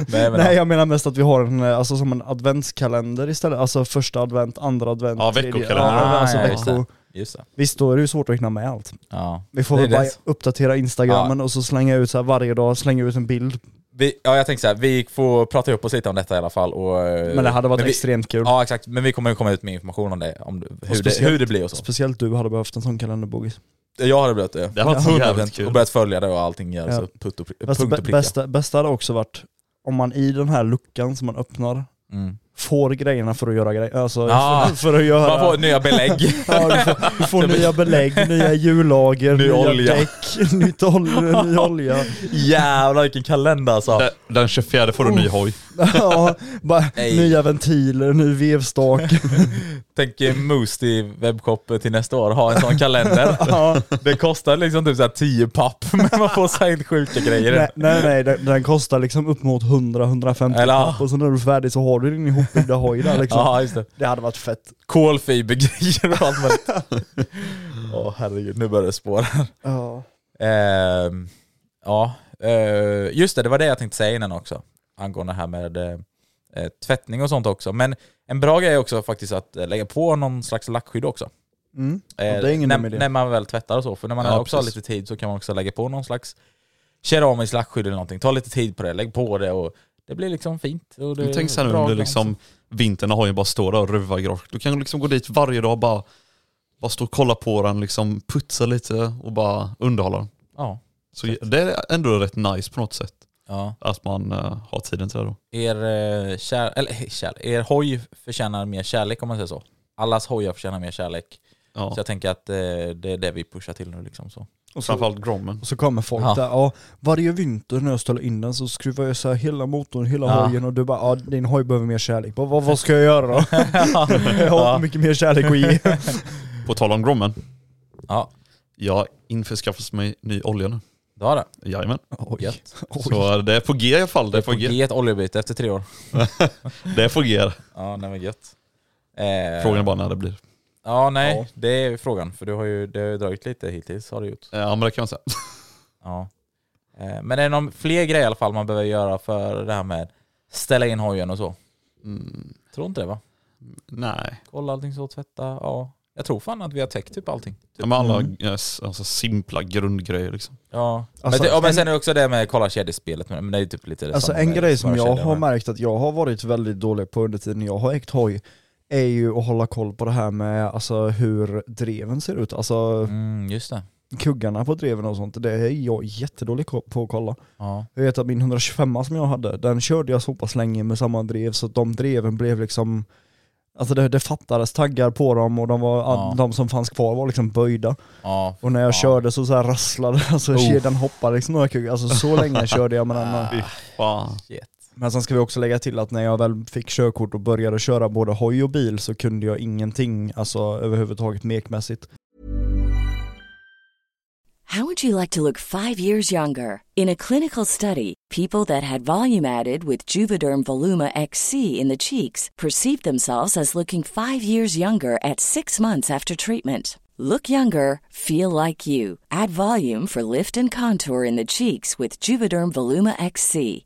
men, *laughs* Nej jag menar mest att vi har en, eh, alltså som en adventskalender istället, alltså första advent, andra advent, Ja, tredje- veckokalender. Ja, alltså, Ah, ja, just det. vecko. Just det. Visst då är det ju svårt att hinna med allt. Ja. Vi får Det är väl bara det. uppdatera instagrammen och så slänga ut så här varje dag, slänga ut en bild. Vi, ja, jag tänker så här, vi får prata ihop oss lite om detta i alla fall. Och, eh, Men det hade varit vi, extremt kul. Ja, exakt. Men vi kommer ju komma ut med information om det, om hur, det, speciellt- hur det blir och så. Speciellt du hade behövt en sån kalender Bogis. Jag hade blivit det. Det hade varit jävligt kul. Och börjat följa det och allting görs Ja. så putt och, pri- Bästa, punkt och Alltså, bä- pricka. bästa, bästa hade också varit om man i den här luckan som man öppnar Mm. får grejerna för att göra grejer. Alltså Ja. *laughs* för, för att göra... Man får nya belägg. Ja, du får, du *laughs* får nya belägg, nya hjullager, Ny nya olja. däck, nytt ol- *laughs* ny olja. *laughs* Jävlar vilken kalender alltså. Den, den 24 får du ny hoj. Ja, bara Nej. nya ventiler, ny vevstak. Tänk eh, Moost i webbshop till nästa år ha en sån *laughs* kalender. Det kostar liksom typ såhär 10 papp *laughs* men man får så här helt sjuka grejer. nej, nej, nej den, den kostar liksom upp mot 100-150 Eller, ja. Eller... och sen när du är färdig så har du din ihopbyggda hoj *laughs* där liksom. Ja just det. Det hade varit fett. Kolfibergrejer och allt *laughs* möjligt. Åh herregud, nu börjar det spåra. Ja. Ehm, ja, eh, just det, det var det jag tänkte säga innan också. Angående det här med eh, eh, tvättning och sånt också. Men en bra grej är också faktiskt att eh, lägga på någon slags lackskydd också. Mm. Eh, det är ingen när, dum idé. när man väl tvättar och så. För när man Ja, också har precis. lite tid så kan man också lägga på någon slags keramisk lackskydd eller någonting. Ta lite tid på det, lägg på det och det blir liksom fint. Och det Men tänk sen nu bra om du glans. liksom vintern när hojen bara står där och ruvar grovt. Du kan liksom gå dit varje dag och bara, bara stå och kolla på den, liksom putsa lite och bara underhålla den. Ja. Så det är ändå rätt nice på något sätt ja. att man eh, har tiden till det då. Er, eh, kär, eller, kär, er hoj förtjänar mer kärlek om man säger så. Allas hojar förtjänar mer kärlek. Ja. Så jag tänker att eh, det är det vi pushar till nu liksom så. Och så, Framförallt grommen. och så kommer folk Ja. där, ja, varje vinter när jag ställer in den så skruvar jag så här hela motorn, hela Ja. hojen och du bara ja, din hoj behöver mer kärlek. Vad, vad, vad ska jag *laughs* göra då? jag har inte mycket mer kärlek att ge. *laughs* På tal om grommen, Ja, jag införskaffas mig ny olja nu. det har det. Jajamän. Oj. Gött. Så det är på G i alla fall. Det är på G. Ge ett oljebyte efter tre år. Det är på G. Ja, nej men gött. Eh, Frågan är bara när det blir. Ja, nej, Ja. det är frågan. För du har ju, det har ju dragit lite hittills har du gjort. Ja men det kan man säga. *laughs* Ja. Eh, men är det någon fler grejer i alla fall man behöver göra för det här med ställa in hojen och så? Mm, Tror inte det va? nej. Kolla allting så, tvätta, ja. Jag tror fan att vi har täckt typ allting. Ja, men alla eh, s- alltså, simpla grundgrejer liksom. Ja. Alltså, men, det, ja, men en- sen är det också det med kolla kedjespelet, men men det är ju typ lite det Alltså samma en med grej som bara jag kedjan, har men- märkt att jag har varit väldigt dålig på under tiden jag har ägt hoj är ju att hålla koll på det här med alltså, hur dreven ser ut. Alltså Mm, just det. kuggarna på dreven och sånt, det är jag jättedålig ko- på att kolla. Ja. Jag vet att min 125 som jag hade, den körde jag så pass länge med samma drev så att de dreven blev liksom Alltså det, det fattades taggar på dem och de, var, Ja. de som fanns kvar var liksom böjda. Ja. Och när jag Ja. körde så, så här rasslade *laughs* alltså Oh. kedjan hoppade liksom några kuggar. Alltså så länge körde jag *laughs* med den. här. Fy fan. Shit. Men sen ska vi också lägga till att när jag väl fick körkort och började köra både hoj och bil så kunde jag ingenting, alltså överhuvudtaget mekmässigt. How would you like to look five years younger? In a clinical study, people that had volume added with Juvederm Voluma XC in the cheeks perceived themselves as looking five years younger at six months after treatment. Look younger, feel like you. Add volume for lift and contour in the cheeks with Juvederm Voluma XC.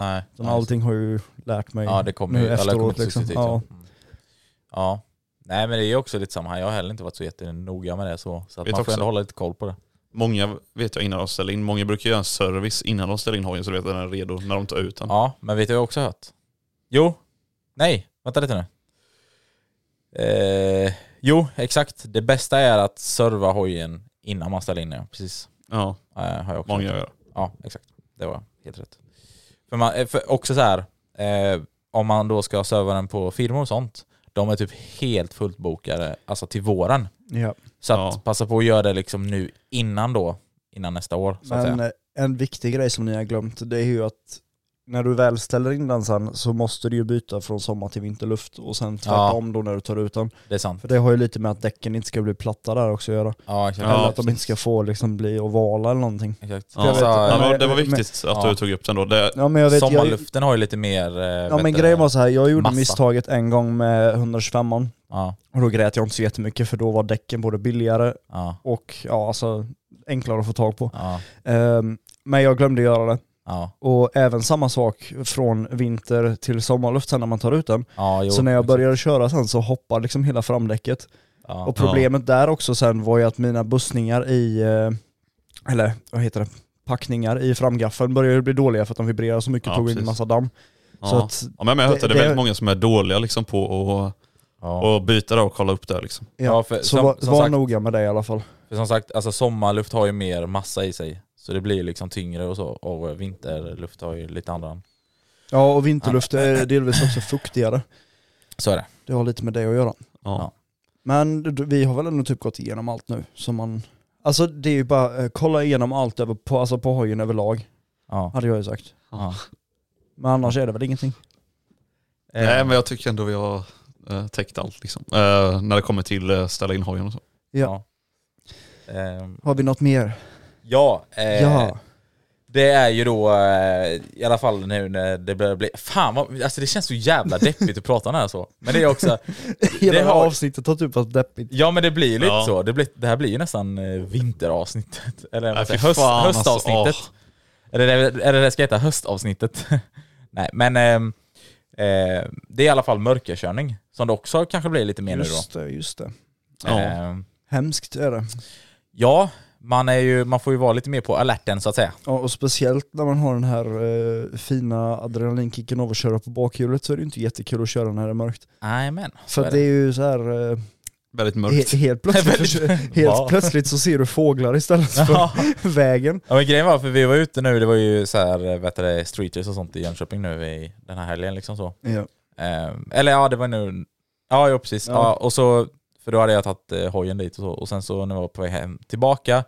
Nej. Så allting har ju lärt mig Ja, det kommer ju. nu Eller det kommer efteråt liksom. liksom. successivt. Ja. Ja. Mm. ja. Nej men det är också lite samma här. Jag har heller inte varit så jättenoga med det så. Så att Vet man får också. ändå hålla lite koll på det. Många vet jag innan de ställer in, många brukar göra en service innan de ställer in hojen så du vet att den är redo när de tar ut den. Ja, men vet du vad jag också hört? Jo. Nej, vänta lite nu. Eh, jo, exakt. Det bästa är att serva hojen innan man ställer in den. Precis. Ja, Eh, har jag också många hört. gör Ja, exakt. Det var helt rätt. För, man, eh, för också så här, eh, om man då ska serva den på firmor och sånt, De är typ helt fullt bokade alltså till våren. Ja. Så att Ja. passa på att göra det liksom nu innan då, innan nästa år. Så att Men säga. eh, en viktig grej som ni har glömt det är ju att när du väl ställer in den sen så måste du ju byta från sommar till vinterluft och sen tvärtom då när du tar ut den. Det är sant. För det har ju lite med att däcken inte ska bli platta där också att göra. Ja, exakt. Eller att de inte ska få liksom bli ovala eller någonting. Exakt. Ja, vet- ja, men det var men- viktigt att ja. du tog upp den då. Det, Ja men jag vet, jag, Sommarluften har ju lite mer... eh, ja, vet men du, grejen var så här, jag gjorde massa. misstaget en gång med 125 och Ja, då grät jag inte så jättemycket för då var däcken både billigare ja, och ja, alltså, enklare att få tag på. ja, Ehm, men jag glömde göra det. ja, Och även samma sak från vinter till sommarluft sen när man tar ut den. ja jo, så när jag exakt. började köra sen så hoppar liksom hela framdäcket. Ja. Och problemet där också sen var ju att mina bussningar i, eh, eller vad heter det, packningar i framgaffeln började ju bli dåliga för att de vibrerar så mycket och Ja, tog in precis. massa damm. ja. Så att, ja, men jag har hört det- det, det det- är väldigt många som är dåliga liksom på att Ja. och byta det och kolla upp det. Liksom. ja, Ja, för så som- var, som var sagt- noga med det i alla fall. För som sagt, alltså sommarluft har ju mer massa i sig. Så det blir ju liksom tyngre och så. Och vinterluft har ju lite andra. Ja, och vinterluft är delvis också fuktigare. Så är det. Det har lite med det att göra. Ja. Men d- vi har väl ändå typ gått igenom allt nu som man... Alltså det är ju bara eh, kolla igenom allt över på, alltså på hojen överlag, Ja. hade jag ju sagt. Ja. Men annars är det väl ingenting. Ehm, Nej men jag tycker ändå vi har eh, täckt allt liksom. Eh, när det kommer till eh, ställa in hojen och så. Ja. Ehm, Har vi något mer? ja, eh, Ja. det är ju då eh, i alla fall nu när det börjar bli... Fan vad, alltså det känns så jävla deppigt att prata om det här så. Men det är också... Hela det det har- avsnittet har typ varit deppigt. Ja men det blir ju lite Ja. så. Det, blir, det här blir ju nästan eh, vinteravsnittet. Eller Nej, vad säger, fy jag? höst, fan, alltså, höstavsnittet. Eller det, eller det ska heta höstavsnittet. *laughs* Nej men ehm, eh, det är i alla fall mörkerkörning. Som det också kanske blir lite mer Just det, just det. nu då. Ehm, Hemskt är det. ja, man, är ju, man får ju vara lite mer på alerten så att säga. Ja, och speciellt när man har den här eh, fina adrenalinkicken av att köra på bakhjulet så är det ju inte jättekul att köra när det är mörkt. Nej men. För att det är ju så här... Eh, Väldigt mörkt. *laughs* he, helt plötsligt, Ja. helt plötsligt så ser du fåglar *laughs* istället Ja. för vägen. Ja men grejen var, för vi var ute nu, det var ju så här, vet du, det, streeters och sånt i Jönköping nu i den här helgen liksom så. Ja. Eh, eller ja, det var nu... Ja, ja precis. Ja. Ja. och så, för då hade jag tagit eh, hojen dit och så. Och sen så när jag var på väg hem tillbaka,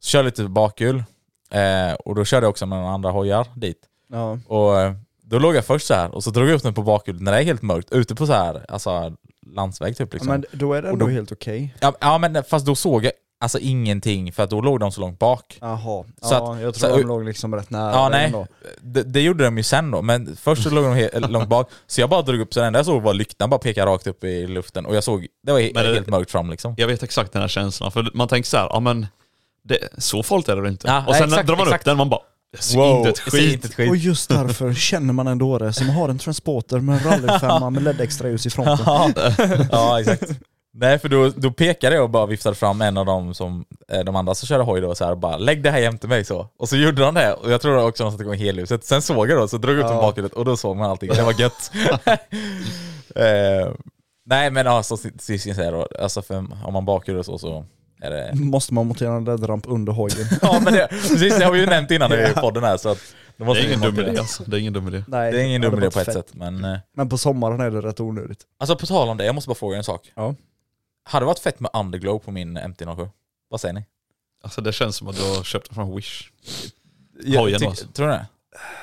så körde jag lite bakhjul. Eh, och då körde jag också med några andra hojar dit. Ja. Och eh, då låg jag först så här och så drog jag upp den på bakhjulet när det är helt mörkt, ute på så här, alltså landsväg typ liksom. Ja, Men då är det Och ändå då- helt okej. Ja, ja men fast då såg jag alltså ingenting för att då låg de så långt bak. Jaha. Så ja, att- jag så tror att- de låg liksom rätt nära Ja, dig nej. ändå. Det, det gjorde de ju sen då, men först så låg de he- *laughs* långt bak, så jag bara drog upp, så den enda jag såg var lyktan bara peka rakt upp i luften och jag såg, det var he- Men det- helt mörkt fram liksom. Jag vet exakt den här känslan. För man tänker så här, ja men det, så farligt är det väl inte? Ja, och nej, sen exakt, drar man exakt. upp den man bara, jag ser Wow, inte ett jag ser skit. inte ett skit. Och *laughs* just därför känner man en dåre som har en transporter med en rallyfemma med LED-extraljus i fronten. Ja, *laughs* ja exakt. Nej för då, då pekade jag och bara viftade fram en av dem som, eh, de andra som körde hoj då så här, och bara lägg det här jämte mig så. Och så gjorde de det och jag tror också de satte igång helljuset. Sen såg jag då, så drog jag upp den bakhjulet och då såg man allting. Det var *laughs* gött. eh, nej men ja, så sist kan säga då, alltså för, om man bakhjul och så så är det *laughs* Måste man montera en LED-ramp under hojen? Ja men det, precis, det har vi ju nämnt *laughs* innan i podden här så att Det då måste är vi ingen dum montera. idé alltså. Det är ingen dum idé. *laughs* Nej, Det är ingen dum idé hade varit på ett fett. sätt men... eh, Men på sommaren är det rätt onödigt. Alltså på tal om det, jag måste bara fråga en sak. Ja. Hade det varit fett med underglow på min MT-07? Vad säger ni? Alltså det känns som att du har köpt den från Wish. Hojen Ty- alltså. Tror ni det?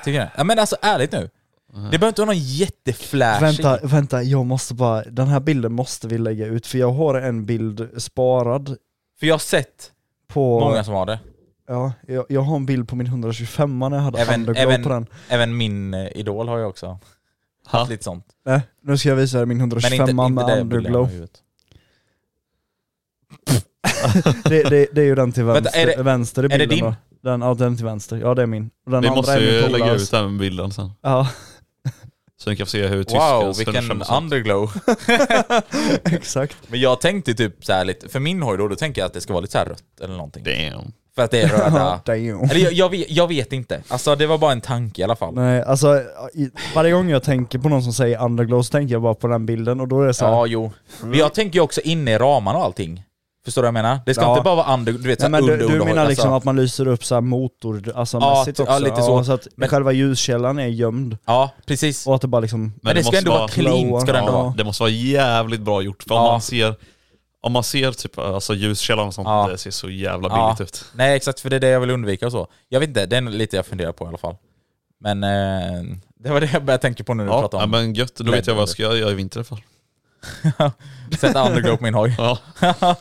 Tycker ni det? Ja, men alltså ärligt nu. Mm. Det behöver inte vara någon jätteflashig. Vänta, vänta, jag måste bara, den här bilden måste vi lägga ut för jag har en bild sparad För jag har sett på... många som har det. Ja, jag, jag har en bild på min 125 när jag hade Även, underglow på den. även, även min eh, idol har jag också Ha? haft lite sånt. Nej, nu ska jag visa dig min Men inte, 125 inte med det bilden jag har underglow. i huvudet. Det, det, det är ju den till Vänta, vänster, är det- vänster i är det bilden din? då. Den, ja, den till vänster. Ja, det är min. Och Den Vi andra måste är ju min lägga polares. ut den bilden sen. Ja, Så ni kan få se hur tyska Wow, vilken *laughs* underglow. exakt. Men jag tänkte typ så här lite, för min hoj då, då tänker jag att det ska vara lite så här rött eller någonting. Damn. För att det är *laughs* röda. Damn. eller jag, jag, vet, jag vet inte. Alltså det var bara en tanke i alla fall. Nej, alltså i, varje gång jag tänker på någon som säger underglow så tänker jag bara på den bilden och då är det så här, Ja, jo. Men jag tänker ju också inne i ramarna och allting. För Förstår du vad jag menar? Det ska Ja. inte bara vara under, du vet, Nej, såhär men du, du underunderhåll, menar liksom alltså. att man lyser upp så här motor, alltså Ja, mässigt ty- också? ja, lite så. så att Men- själva ljuskällan är gömd Ja, precis. och att det bara liksom... Men det ska måste ändå vara clean, ska det ändå ja, vara. Det måste vara jävligt bra gjort. För om Ja. man ser, om man ser typ, alltså ljuskällan och sånt, Ja. det ser så jävla Ja. billigt ut. Nej exakt, för det är det jag vill undvika och så. Jag vet inte, det är lite jag funderar på i alla fall. Men eh, det var det jag började tänka på nu när du Ja, pratade ja, om. men gött, då vet jag vad jag ska göra i vinter i alla fall. *laughs* Sätta underglow på min hoj. Ja. *laughs*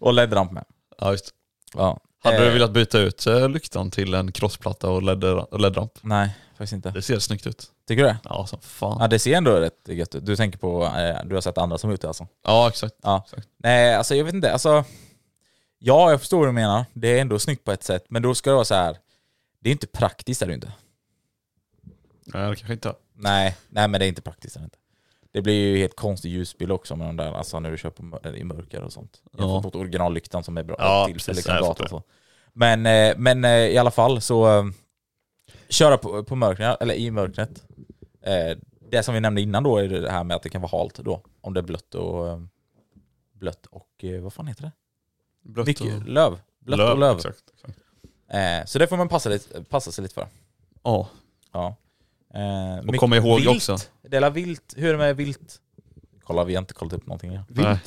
och LED-ramp med. Ja, just. Ja. Hade du Eh, velat byta ut eh, lyktan till en krossplatta och LED- och LED-ramp? Nej, faktiskt inte. Det ser snyggt ut. Tycker du det? Ja, som Ja fan. det ser ändå rätt gött ut. Du tänker på, eh, du har sett andra som är ute alltså? Ja, exakt. Ja. Nej, alltså jag vet inte. Alltså, ja, jag förstår vad du menar. Det är ändå snyggt på ett sätt, men då ska det vara så här. Det är inte praktiskt, är det ju inte? Nej, det kanske inte är. Nej, nej men det är inte praktiskt. Är det, inte. det blir ju helt konstig ljusbild också med de där, alltså när du kör på mör- i mörker och sånt. Jag Ja. har fått originallyktan som är bra Ja, till sig precis. liksom Nej, jag gatan och fattar så. Men, eh, men eh, i alla fall så eh, köra på, på mörkret, eller i mörkret. Eh, Det som vi nämnde innan då är det här med att det kan vara halt då. Om det är blött och eh, blött och eh, vad fan heter det? Blött Mycket, löv. Blött och löv. Exakt. exakt. Eh, Så det får man passa, lite, passa sig lite för. Ja. Ja. Eh, Och kom ihåg vilt. också. Det är alla vilt. Hur är det med vilt? Kolla, vi har inte kollat upp någonting. Ja, Nej.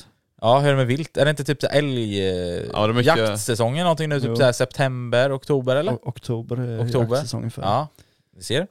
ja hur är det med vilt? Är det inte typ så här älg... Ja, det är Ja, mycket- jaktsäsongen någonting nu? Jo. Typ så här september, oktober eller? O- Oktober är Oktober? jaktsäsongen för. Ja, ni ser.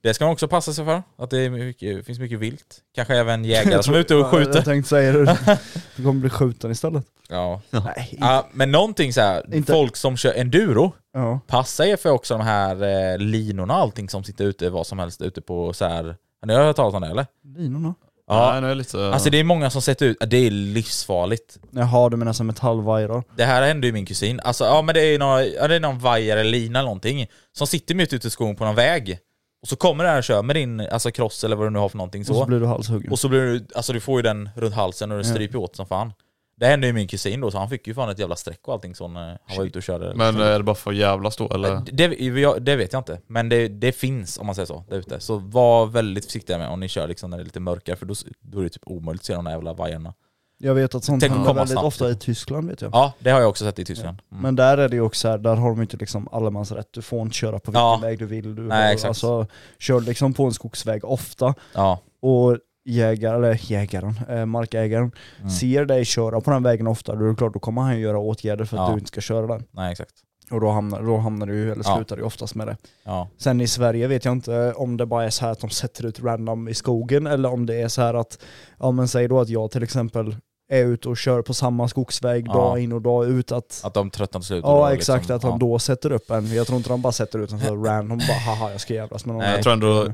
Det ska man också passa sig för, att det är mycket, finns mycket vilt. Kanske även jägare som är *laughs* ute och Ja, Jag skjuter. *laughs* tänkte säga det. Du kommer bli skjuten istället. Ja. Nej. inte- Ja, men någonting så här, Inte- folk som kör enduro, Ja. passa er för också de här eh, linorna och allting som sitter ute, vad som helst ute på så här. Har ni hört talas om det eller? Linorna? Ja, Nej, nu är det lite... Alltså det är många som sätter ut, det är livsfarligt. Jaha, du menar som metallvajrar? Det här hände ju min kusin. Alltså ja men det är ju några, ja, det är någon vajer eller lina eller någonting som sitter mitt ute i skogen på någon väg. Och så kommer den här och kör med din alltså cross eller vad du nu har för någonting Och så. så blir du halshuggen. Och så blir du, alltså du får ju den runt halsen och den Ja. stryper åt som fan. Det hände ju min kusin då så han fick ju fan ett jävla streck och allting så när han var ute och körde. Men är det bara för att jävlas då eller? det, jag- det vet jag inte, men det, det finns om man säger så där ute. Så var väldigt försiktiga med om ni kör liksom när det är lite mörkare för då, då är det typ omöjligt att se de där jävla vajerna. Jag vet att sånt Tänk att händer komma väldigt snabbt. ofta i Tyskland vet jag. Ja, det har jag också sett i Tyskland. Mm. Men där är det ju också så här, där har de inte liksom allemansrätt, du får inte köra på vilken Ja. väg du vill. Du Nej, har- exakt. Alltså, kör liksom på en skogsväg ofta Ja. och jägare, eller jägaren, eh, markägaren Mm. ser dig köra på den vägen ofta, då är det klart då kommer han göra åtgärder för att Ja. du inte ska köra den. Nej exakt. Och då hamnar, då hamnar du ju, eller Ja. slutar du ju oftast med det. Ja. Sen i Sverige vet jag inte om det bara är så här att de sätter ut random i skogen eller om det är så här att, ja men säg då att jag till exempel är ute och kör på samma skogsväg Ja. dag in och dag ut att Att de tröttnar till slut. och då Ja exakt, liksom- att de ja. då sätter upp en. Jag tror inte de bara sätter ut en sån här random, bara haha jag ska jävlas med någon. Nej. Jag tror Mm. ändå,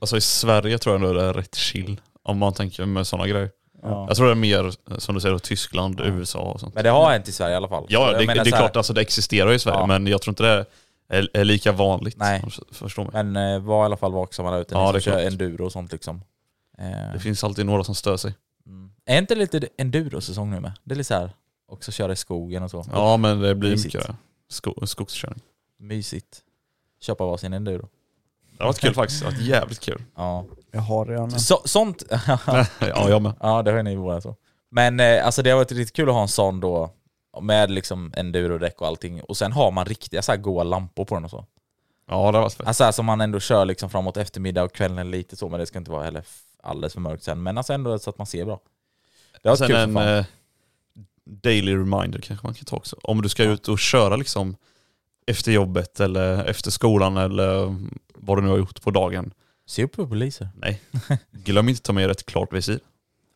alltså i Sverige tror jag ändå det är rätt chill. Om man tänker med sådana grejer. Ja. Jag tror det är mer, eh, som du säger, då, Tyskland, USA och sånt. Men det har hänt i Sverige i alla fall. Ja, Jag det, menar det är så här- klart alltså, det existerar ju i Sverige Ja. men jag tror inte det är, är lika vanligt. Nej. om du Förstår mig. Men eh, var i alla fall vaksamma där ute. Ja, Ja, det det är kör klart. enduro och sånt liksom. Eh, Det finns alltid några som stör sig. mm. Är inte lite enduro-säsong nu med? Det är lite så här, också köra i skogen och så. Ja men det blir Mysigt. mycket det. Sko, skogskörning. Mysigt. Köpa varsin enduro. Det har varit kul faktiskt. Det har varit jävligt kul. Ja. Jag har redan en. Så, sånt... *laughs* ja jag med. ja, det har ju ni båda så. Men eh, alltså det har varit riktigt kul att ha en sån då. Med liksom enduro-däck och allting. Och sen har man riktiga så här goa lampor på den och så. Ja det har varit fett. Alltså här som man ändå kör liksom framåt eftermiddag och kvällen lite så, men det ska inte vara heller f- alldeles för mörkt sen. Men alltså ändå så att man ser bra. Det har varit Sen kul för en fan. eh, daily reminder kanske man kan ta också. Om du ska ut och köra liksom efter jobbet eller efter skolan eller vad du nu har gjort på dagen. Se upp för poliser. Glöm inte att ta med dig ett klart visir.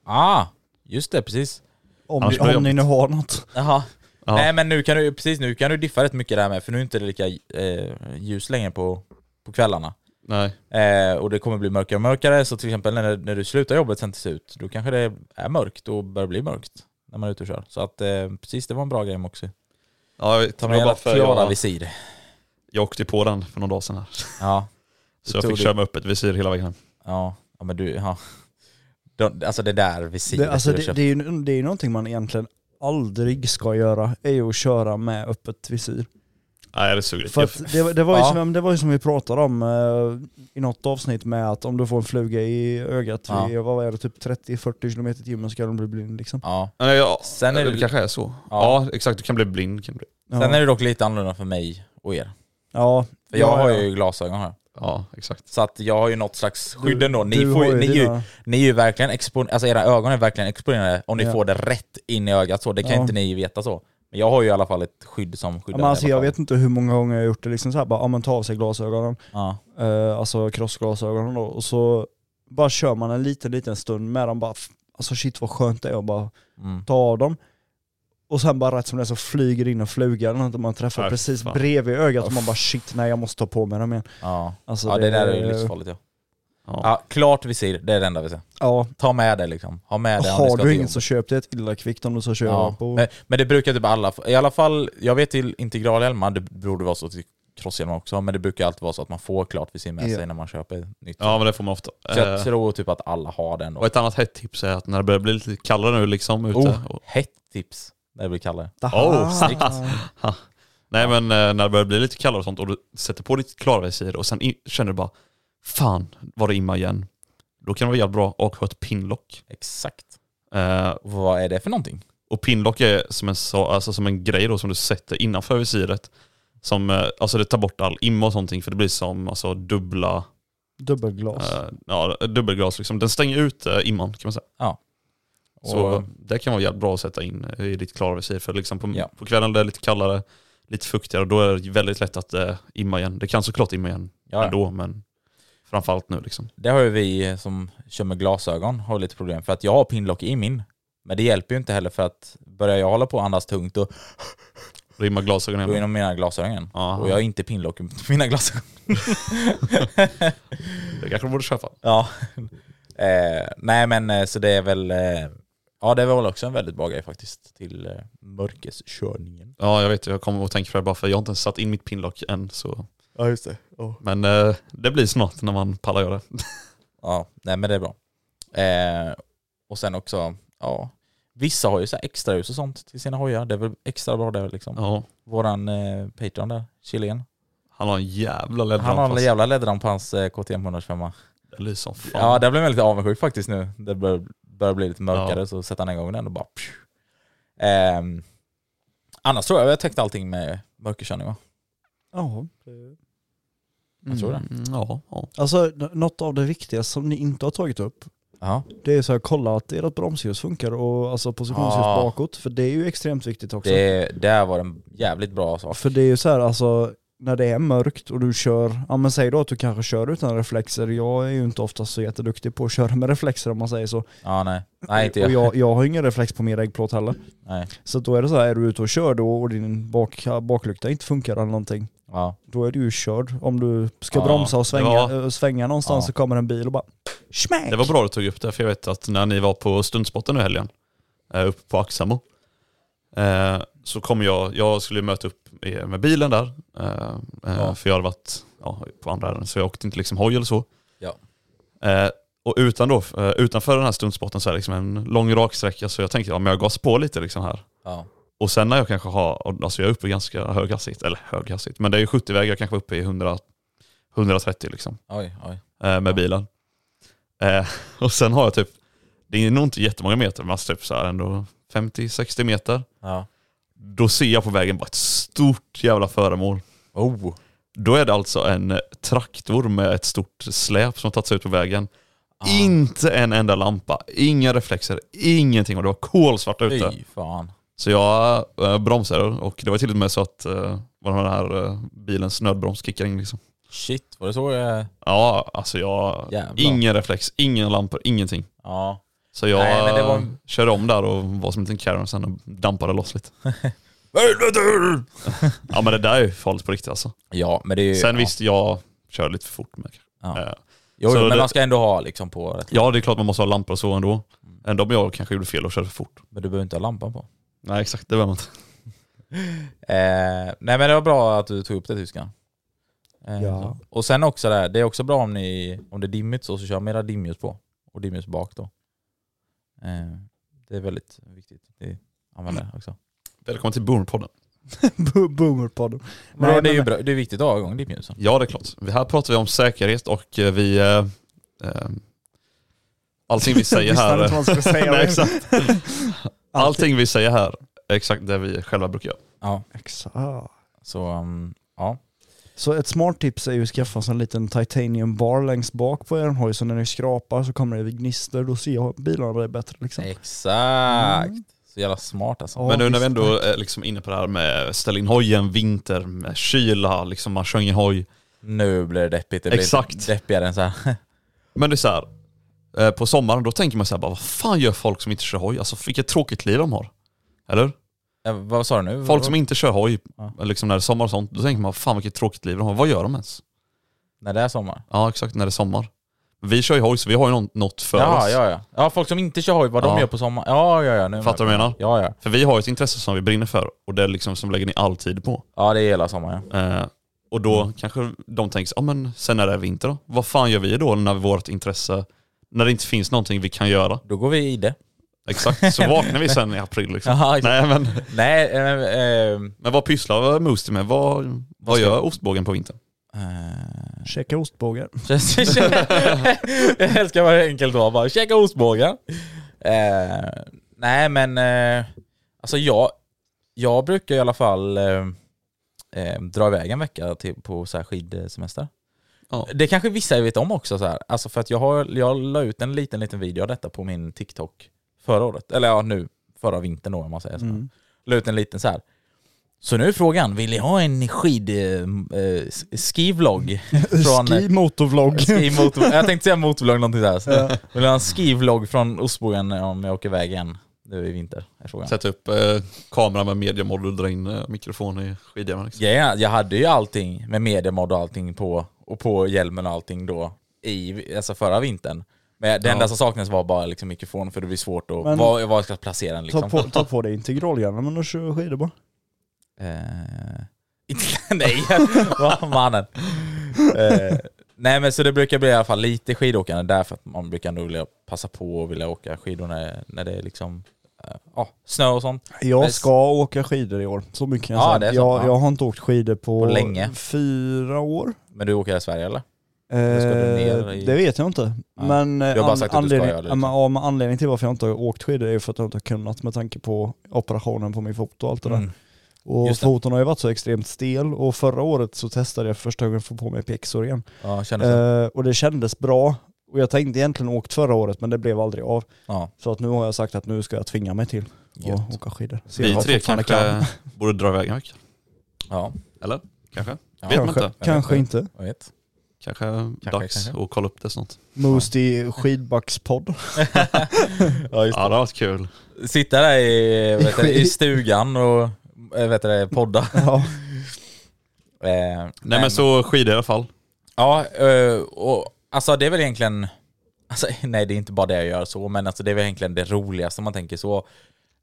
Ah, just det, precis. Om, Annars ni, blir det om ni nu har något. Jaha. Ja. Nej men nu kan du, precis nu kan du diffa rätt mycket där med, för nu är inte det lika eh, ljus längre på, på kvällarna. Nej. Eh, och det kommer bli mörkare och mörkare, så till exempel när, när du slutar jobbet sen till slut, då kanske det är mörkt och börjar bli mörkt när man är ute och kör. Så att eh, precis, det var en bra grej också. Ja, jag, Ta det med var bara alla för klara jag, visir. jag åkte på den för några dagar sedan här. Ja. Så jag Tog fick du- köra med öppet visir hela vägen hem. Ja, ja men du, ja. De, alltså det där visiret Det, alltså, du det, köpte. det, är ju, det är ju någonting man egentligen aldrig ska göra, är ju att köra med öppet visir. Nej det suger lite. För Jag, att det, det, var ju Ja. som, det var ju som vi pratade om eh, i något avsnitt med att om du får en fluga i ögat Ja. vid, vad är det, typ 30-40 km i timmen så kan du bli blind liksom. Ja. nej, ja, Sen är det det- kanske är så. Ja. Ja. exakt, du kan bli blind. Kan du bli. Ja. Sen är det dock lite annorlunda för mig och er. ja. För jag Ja, har ja. ju glasögon här. Ja exakt. Så att jag har ju något slags skydd Du- ändå. Ni, du får ju, har ni, är ju, dina- ni är ju verkligen exponerade, alltså era ögon är verkligen exponerade om ni Ja. får det rätt in i ögat så. Det kan Ja. inte ni veta så. Men jag har ju i alla fall ett skydd som Ja, skyddar men alltså, mig i jag alla vet fall. inte hur många gånger jag har gjort det, liksom så här, bara, ja, men ta av sig glasögonen, Ja. eh, alltså krossglasögonen då, och så bara kör man en liten, liten stund med dem, bara, f- alltså shit vad skönt det är att bara Mm. ta av dem. Och sen bara rätt som det är så flyger det in en fluga eller något, och man träffar Nej, precis fan. bredvid ögat och man bara shit nej jag måste ta på mig dem igen. Ja. Alltså, ja, det, det där är är- ju livsfarligt ja. Ja. ja. Klart visir, det är det enda vi ser. Ja, Ta med det liksom. Ha med det om ni har ska du till inget jobbet. så köp det ett illa kvickt om du ska köra Ja. på... Men, men det brukar typ alla, få- i alla fall, jag vet till integralhjälmar, det borde vara så till crosshjälmar också, men det brukar alltid vara så att man får klart visir med Ja. sig när man köper nytt. Ja men det får man ofta. Så jag Eh, tror typ att alla har den då. och ett annat hett tips är att när det börjar bli lite kallare nu liksom ute. Oh, Och, hett tips när det blir kallare. oh, snyggt. nej men eh, när det börjar bli lite kallare och sånt och du sätter på ditt klarvisir och sen in, känner du bara fan var det imma igen. Då kan det vara jävligt bra att ha ett pinlock. Exakt. Eh, Och Vad är det för någonting? Och pinlock är som en, sa- alltså som en grej då som du sätter innanför visiret. Som, eh, alltså det tar bort all imma och sånt för det blir som alltså, dubbla Dubbelglas. eh, ja, dubbelglas. Liksom. Den stänger ut eh, imman kan man säga. Och, Så det kan vara jävligt bra att sätta in eh, i ditt klarvisir. För liksom på, Ja. på kvällen det är lite kallare, lite fuktigare och då är det väldigt lätt att eh, imma igen. Det kan såklart imma igen ja, ja. ändå men framförallt nu liksom. Det har ju vi som kör med glasögon har lite problem för att jag har pinlock i min. Men det hjälper ju inte heller för att börjar jag hålla på och andas tungt då Då immar då är glasögonen. nog mina glasögon igen. Aha. Och jag har inte pinlock i *laughs* mina glasögon. Det kanske du borde köpa. ja. Eh, nej men eh, så det är väl eh, Ja det var väl också en väldigt bra grej faktiskt till eh, mörkeskörningen. Ja jag vet, jag kommer att tänka på det bara för jag har inte ens satt in mitt pinlock än så Ja just det. Men eh, det blir snart när man pallar göra det. Ja, nej men det är bra. Eh, och sen också, ja. Vissa har ju så här extra och sånt till sina hojar. Det är väl extra bra där liksom. Ja, Våran eh, Patreon där, Chilen. han har en jävla Han har en ledramp. jävla läderramp på hans eh, KTM 125. Det lyser som fan. Ja, där blev man lite avundsjuk faktiskt nu. Det bör, börjar bli lite mörkare Ja. så sätter han igång den och bara... pju. Ehm, annars tror jag vi har täckt allting med mörkerkörning va? Ja. Jag tror det. Mm, ja, ja. Alltså n- något av det viktigaste som ni inte har tagit upp, Ja. det är så här, kolla att ert bromsljus funkar och alltså positionsljus Ja. bakåt, för det är ju extremt viktigt också. Det, där var det en jävligt bra sak. För det är ju så här, alltså när det är mörkt och du kör, ja men säg då att du kanske kör utan reflexer, jag är ju inte oftast så jätteduktig på att köra med reflexer om man säger så. Ja, nej. Nej, inte Och jag. jag, jag har ingen reflex på min regplåt heller. Nej. Så då är det så här, är du ute och kör då och din bak, baklykta inte funkar eller någonting, Ja. då är du ju körd. Om du ska Ja, bromsa och svänga, det eh, svänga någonstans Ja. så kommer en bil och bara smäck! Det var bra du tog upp det, för jag vet att när ni var på stundspotten nu i helgen, eh, uppe på Axamo, eh, så kom jag, jag skulle möta upp er med bilen där, eh, eh, Ja. för jag hade varit ja, på andra ärenden, så jag åkte inte liksom hoj eller så. Ja. Eh, och utan då, eh, utanför den här stundspotten så är det liksom en lång rak sträcka, så jag tänkte ja, men jag gasar på lite liksom här. Ja. Och sen när jag kanske har, alltså jag är uppe i ganska hög hastighet, eller hög hastighet, men det är ju 70-väg, jag kanske är uppe i 100, 130 liksom Oj, oj. eh, med bilen. Eh, *laughs* och sen har jag typ, det är nog inte jättemånga meter, men alltså typ så här ändå 50-60 meter. Ja. Då ser jag på vägen bara ett stort jävla föremål. Oh. Då är det alltså en eh, traktor med ett stort släp som har tagits ut på vägen. Inte en enda lampa, inga reflexer, ingenting och det var kolsvart ute. Fy fan. Så jag eh, bromsade och det var till och med så att eh, var den här eh, bilens nödbroms kickade in liksom. Shit, var det så? eh, Ja, alltså jag... Jävlar. Ingen reflex, ingen lampor, ingenting. Ja. Så jag Nej, men det var- eh, körde om där och var som en liten Karen sen och dampade loss lite. ja men det där är ju farligt på riktigt alltså. Ja, men det är ju... Sen ja. visst, jag kör lite för fort med. Ja. Eh, Jo, så men det- man ska ändå ha liksom på rätt. Ja det är klart man måste ha lampor och så ändå. Ändå om jag kanske gjorde fel och körde för fort. Men du behöver inte ha lampan på. Nej exakt, det behöver man inte. Eh, nej men det var bra att du tog upp det tyskan. Eh, Ja. så. Och sen också det, här, det är också bra om, ni, om det är dimmigt så, så kör mera dimljus på. Och dimljus bak då. Eh, det är väldigt viktigt att ni använder det också. Välkommen till Bourne-podden. *laughs* Bo- Boomerpodden. Men Nej, det är ju men- bra. Det är viktigt att ha igång dippmusen. Ja, det är klart. Vi- Här pratar vi om säkerhet och eh, vi... Eh, eh, allting vi säger Visste han här... inte vad han skulle *laughs* säga? Nej, exakt. Allting vi säger här är exakt det vi själva brukar göra. Ja, Exakt. Ah. så um, ja. Så ett smart tips är ju att skaffa sig en liten titanium bar längst bak på er hoj så när ni skrapar så kommer det vid gnister, då ser jag bilarna blir bättre liksom. Mm. Exakt. Så jävla smart alltså. Ja, Men nu när vi visst, ändå är liksom inne på det här med ställ in hojen, vinter, med kyla, liksom man kör ingen hoj. Nu blir det deppigt. Det blir Exakt. deppigare än så här. Men det är så här, eh, på sommaren då tänker man så här, bara, vad fan gör folk som inte kör hoj? Alltså vilket tråkigt liv de har. Eller? Eh, Vad sa du nu? Folk som inte kör hoj, Ja. liksom när det är sommar och sånt, då tänker man fan vilket tråkigt liv de har. Vad gör de ens? När det är sommar? Ja exakt, när det är sommar. Vi kör ju hoj så vi har ju nå- något för Ja, oss. ja, ja. Ja, folk som inte kör hoj, vad de Ja. gör på sommaren. Ja, ja, ja. Nu Fattar du vad jag menar? Ja, ja. För vi har ju ett intresse som vi brinner för och det är liksom som lägger ni all tid på. Ja, det är hela sommaren ja. Eh, och då kanske de tänker, ja men sen när det är vinter då? Vad fan gör vi då när vårt intresse, när det inte finns någonting vi kan göra? Då går vi i det. *laughs* Exakt, *laughs* så vaknar vi sen i april liksom. Jaha, exakt. Nej, men, Nej, eh, eh, men vad pysslar Moostie med? Vad, vad, gör ostbågen på vintern? eh, Käka ostbågar. *laughs* jag älskar vad det är enkelt var. Bara käka ostbågar. Eh, nej men, eh, alltså jag, jag brukar i alla fall eh, eh, dra iväg en vecka till, på så här skidsemester. Ja. Det kanske vissa vet om också. Så här. Alltså för att jag, har, jag la ut en liten, liten video av detta på min TikTok förra året. Eller ja, nu förra vintern då om man säger så. Mm. La ut en liten så här. Så nu är frågan, vill ni ha en skid... Eh, eh, *laughs* skivlogg? Från, eh, Ski motorvlogg. Ski motor, jag tänkte säga motorvlogg någonting sådär. Så. Vill du ha en skivlogg från Ostbågen om jag åker iväg igen nu i vinter? Är frågan. Sätta upp eh, kameran med mediamod och dra in eh, mikrofon i skidjäveln. Liksom. Ja, jag hade ju allting med mediamod och allting på, och på hjälmen och allting då i alltså förra vintern. Men det Ja. enda som saknades var bara liksom mikrofon för det blir svårt att, Men- var, var jag ska placera den *laughs* Ta liksom. på, ta på dig integralhjärnan och kör skidor bara. Eh, *laughs* inte- nej, *laughs* vad mannen. Eh, nej men så det brukar bli i alla fall lite skidåkande där för att man brukar nog vilja passa på och vilja åka skidor när, när det är liksom eh, ja, snö och sånt. Jag Bäst. ska åka skidor i år, så mycket kan jag Ja, det säga. är så. jag, Ja. jag har inte åkt skidor på, På länge. fyra år. Men du åker i Sverige eller? Eh, ska du ner i- Det vet jag inte. Nej. Men, eh, Du har bara an- sagt att du ska anledning, göra det, liksom. ja, men, ja, men anledningen till varför jag inte har åkt skidor är ju för att jag inte har kunnat med tanke på operationen på min fot och allt det där. Mm. Och Just det. foten har ju varit så extremt stel och förra året så testade jag för första gången att få på mig pjäxor igen. Ja, kändes det. Eh, och det kändes bra. Och jag tänkte egentligen åkt förra året men det blev aldrig av. Ja. Så att nu har jag sagt att nu ska jag tvinga mig till Gött. att åka skidor. Se Vi vad tre fortfarande kanske borde dra iväg en vecka. ja. Eller? Kanske? Ja. Vet man Kanske, inte. kanske inte. Jag vet. Kanske, dags kanske. att kolla upp det snart. *laughs* Moosty skidbackspodd. Ja, just Ja det har varit kul. det. Sitta där i, vet du, i stugan och eh, vet du, det, podda. Ja. *laughs* Eh, nej, Nej men så skidor i alla fall. Ja, eh, och alltså det är väl egentligen, alltså, *laughs* nej det är inte bara det jag gör så, men alltså det är väl egentligen det roligaste om man tänker så.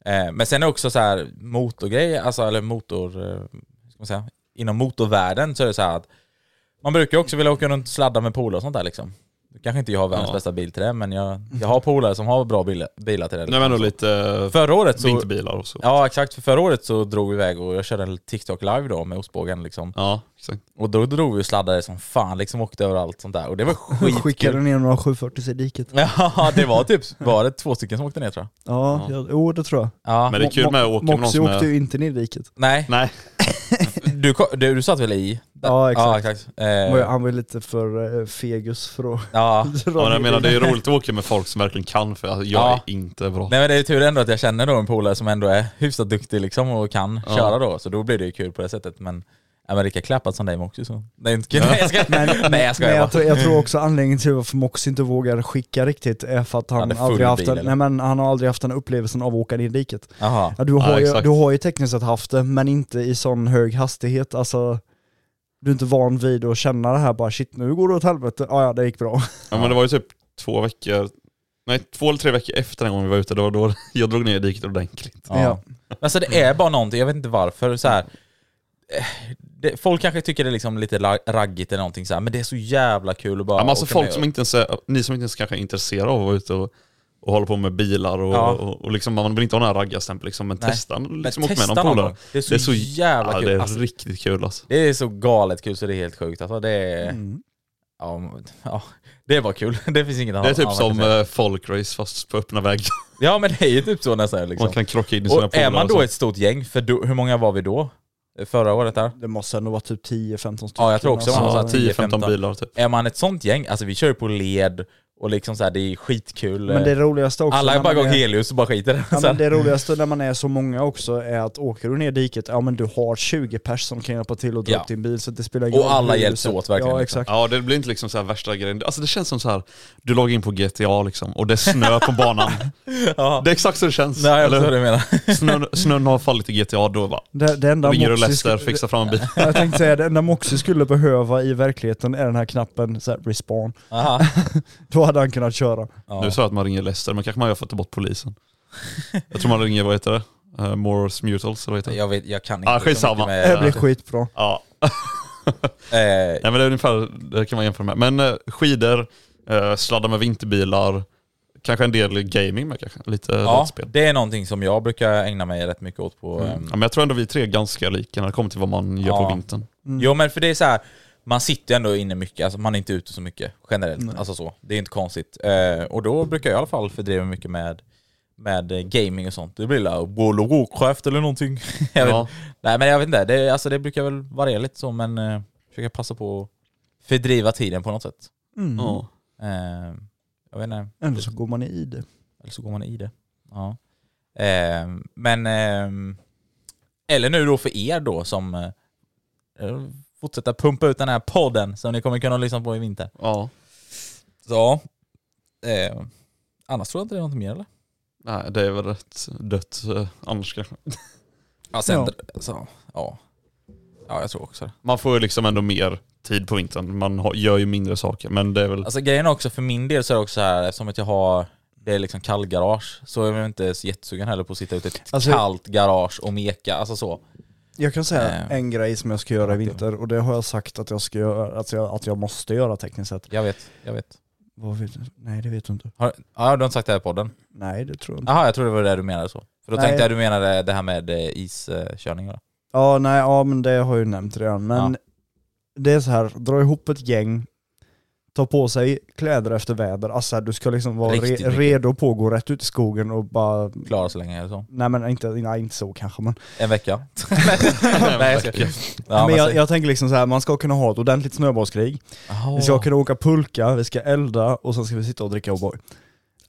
Eh, Men sen är det också så här motorgrejer, alltså eller motor, eh, hur ska man säga, inom motorvärlden så är det så här att man brukar ju också vilja åka runt och sladda med polare och sånt där liksom. Nu Kanske inte jag har världens Ja. bästa bil till det, men jag, jag har polare som har bra bilar, bilar till det. Nej men ändå lite eh, Förra året så, vinterbilar och så. ja exakt, för förra året så drog vi iväg och jag körde en TikTok live då med ostbågen liksom. Ja, exakt. Och då drog vi och sladdade som fan, liksom åkte överallt sånt där. Och det var skitkul. Skickade ner några 740 i diket. *laughs* Ja, det var typ, var det två stycken som åkte ner tror jag? Ja, ja. jo det tror jag. Ja. Men det är kul med att åka med någon Moxie som åkte är... ju inte ner i diket. Nej, *laughs* Nej, du, ko- du, du satt väl i? Ja, exakt. Ja, exakt. Eh, Han var ju- Han var ju lite för eh, fegus för att ja. dra ja, men jag ner menar det i är roligt att åka med folk som verkligen kan för alltså, jag Ja. är inte bra. Nej men det är tur ändå att jag känner då en polare som ändå är hyfsat duktig liksom och kan Ja. köra då, så då blir det ju kul på det sättet. Men, ja, men Rickard klappat som dig med också så. Det är inte kul. Nej jag *laughs* ska, Men- nej, jag, ska Men jag, tror, jag tror också anledningen till varför Mox inte vågar skicka riktigt är för att han, Han är full aldrig, haft bil, en, eller? nej, men han har aldrig haft den upplevelsen av att åka ner i diket. Jaha. Ja, du, har Ja, ju, exakt. du har ju tekniskt sett haft det, men inte i sån hög hastighet. Alltså, du är inte van vid att känna det här bara shit nu går det åt helvete, ja ja det gick bra. Ja men det var ju typ två veckor, nej två eller tre veckor efter den gången vi var ute, det var då *laughs* jag drog ner i diket ordentligt. Ja. Ja. Alltså det är bara någonting, jag vet inte varför. Så här, eh, det, folk kanske tycker det är liksom lite la- raggigt eller någonting så här, men det är så jävla kul att bara Ja, men alltså åka folk med som och- inte ens är, ni som inte ens kanske är intresserade av att vara ute och och håller på med bilar och, Ja. och, och liksom, man vill inte ha den här raggarstämpeln liksom, men Nej. testa liksom, Men åk testa med någon någon polare. gång. Det är så jävla ja, kul. Det är Alltså- riktigt kul alltså. Det är så galet kul så det är helt sjukt. Alltså det är... Mm. Mm. Ja, men- ja, det var kul. *laughs* Det finns inget Det är annat typ annat att som säga. eh, folkrace fast på öppna vägar. *laughs* Ja men det är ju typ så nästan liksom. Man kan krocka in i sina Och är polare man och då så. ett stort gäng, för då, hur många var vi då? Förra året där? Det måste ändå vara typ 10-15 stycken. Ja jag tror också man Ja, var alltså. såhär 10, 10-15 15 bilar typ. Är man ett sånt gäng, alltså vi kör ju på led och liksom såhär, det är skitkul. Men det roligaste också... Alla när är bara man går är- helius och bara skiter i det Ja, sen. men det roligaste när man är så många också är att åker du ner i diket, ja men du har 20 pers som kan hjälpa till och dra Ja. upp din bil så det spelar ingen Och roll alla hur du hjälps ser- åt verkligen, Ja liksom. exakt. Ja det blir inte liksom så här värsta grejen. Alltså det känns som så här du loggar in på GTA liksom och det är snö på banan. Det är exakt så det känns. Nej jag eller förstår hur? vad du menar. Snön, snön har fallit i GTA, då bara Det, det enda ringer och Moxie Lester, skulle- fixar fram en bil. Jag tänkte säga, det enda Moxie skulle behöva i verkligheten är den här knappen, så här, respawn. Aha. *laughs* Då hade han kunnat köra. Nu sa jag att man ringer Lester, men kanske man gör för att ta bort polisen. Jag tror man ringer, vad heter det? Uh, Morse Mutals, eller vad heter det? Jag, vet, jag kan inte Ja, så mycket skitsamma. med- Det blir skitbra. Ja. Eh, Nej men det är ungefär, det kan man jämföra med. Men eh, skidor, eh, sladda med vinterbilar, kanske en del gaming med kanske, lite Ja, rättspel. det är någonting som jag brukar ägna mig rätt mycket åt på... Ja, ehm, men jag tror ändå vi tre är ganska lika när det kommer till vad man gör Ja. på vintern. Jo men för det är så här, man sitter ju ändå inne mycket, alltså man är inte ute så mycket generellt. Alltså så, det är inte konstigt. Eh, och då brukar jag i alla fall fördriva mig mycket med, med eh, gaming och sånt. Det blir la World of Warcraft eller någonting. *laughs* jag Ja. vet, nej men jag vet inte, det, alltså, det brukar väl variera lite så men eh, försöka passa på att fördriva tiden på något sätt. Mm. Ja. Eh, jag vet inte, Mm. Ändå så går man i det. eller så går man i det. Ja. Eh, men, ehm, eller nu då för er då som eh, eh, fortsätter pumpa ut den här podden som ni kommer kunna lyssna på i vinter. ja. Så, eh, annars tror jag inte det är något mer eller? Nej, det är väl rätt dött eh, annars kanske. Ja, sen, Ja. Så, ja. ja, jag tror också det. Man får ju liksom ändå mer tid på vintern. Man har, gör ju mindre saker, men det är väl... Alltså grejen är också för min del så är det också så här, eftersom att jag har det är liksom kallgarage, så är jag inte så jättesugen heller på att sitta ute i ett Alltså- kallt garage och meka, alltså så. Jag kan säga Eh, en grej som jag ska göra i vinter och det har jag sagt att jag ska göra, att jag, att jag måste göra tekniskt sett. Jag vet, jag vet. Vad vet du? Nej det vet du inte. Har, ja, du har inte sagt det här i podden? Nej det tror jag inte. Jaha, jag trodde det var det du menade så. För då Nej. tänkte jag du menade det här med eh, iskörning eller? Ja, nej, ja men det har jag ju nämnt redan. Men det är så här, dra ihop ett gäng, ta på sig kläder efter väder. Alltså du ska liksom vara Riktigt re- mycket. redo på att gå rätt ut i skogen och bara... Klara så länge eller så. Nej men inte, nej, inte så kanske men... En *laughs* vecka. Nej, jag ska- Ja, men men jag, så- jag tänker liksom så här, man ska kunna ha ett ordentligt snöbollskrig. Jaha. Vi ska kunna åka pulka, vi ska elda och sen ska vi sitta och dricka O'boy.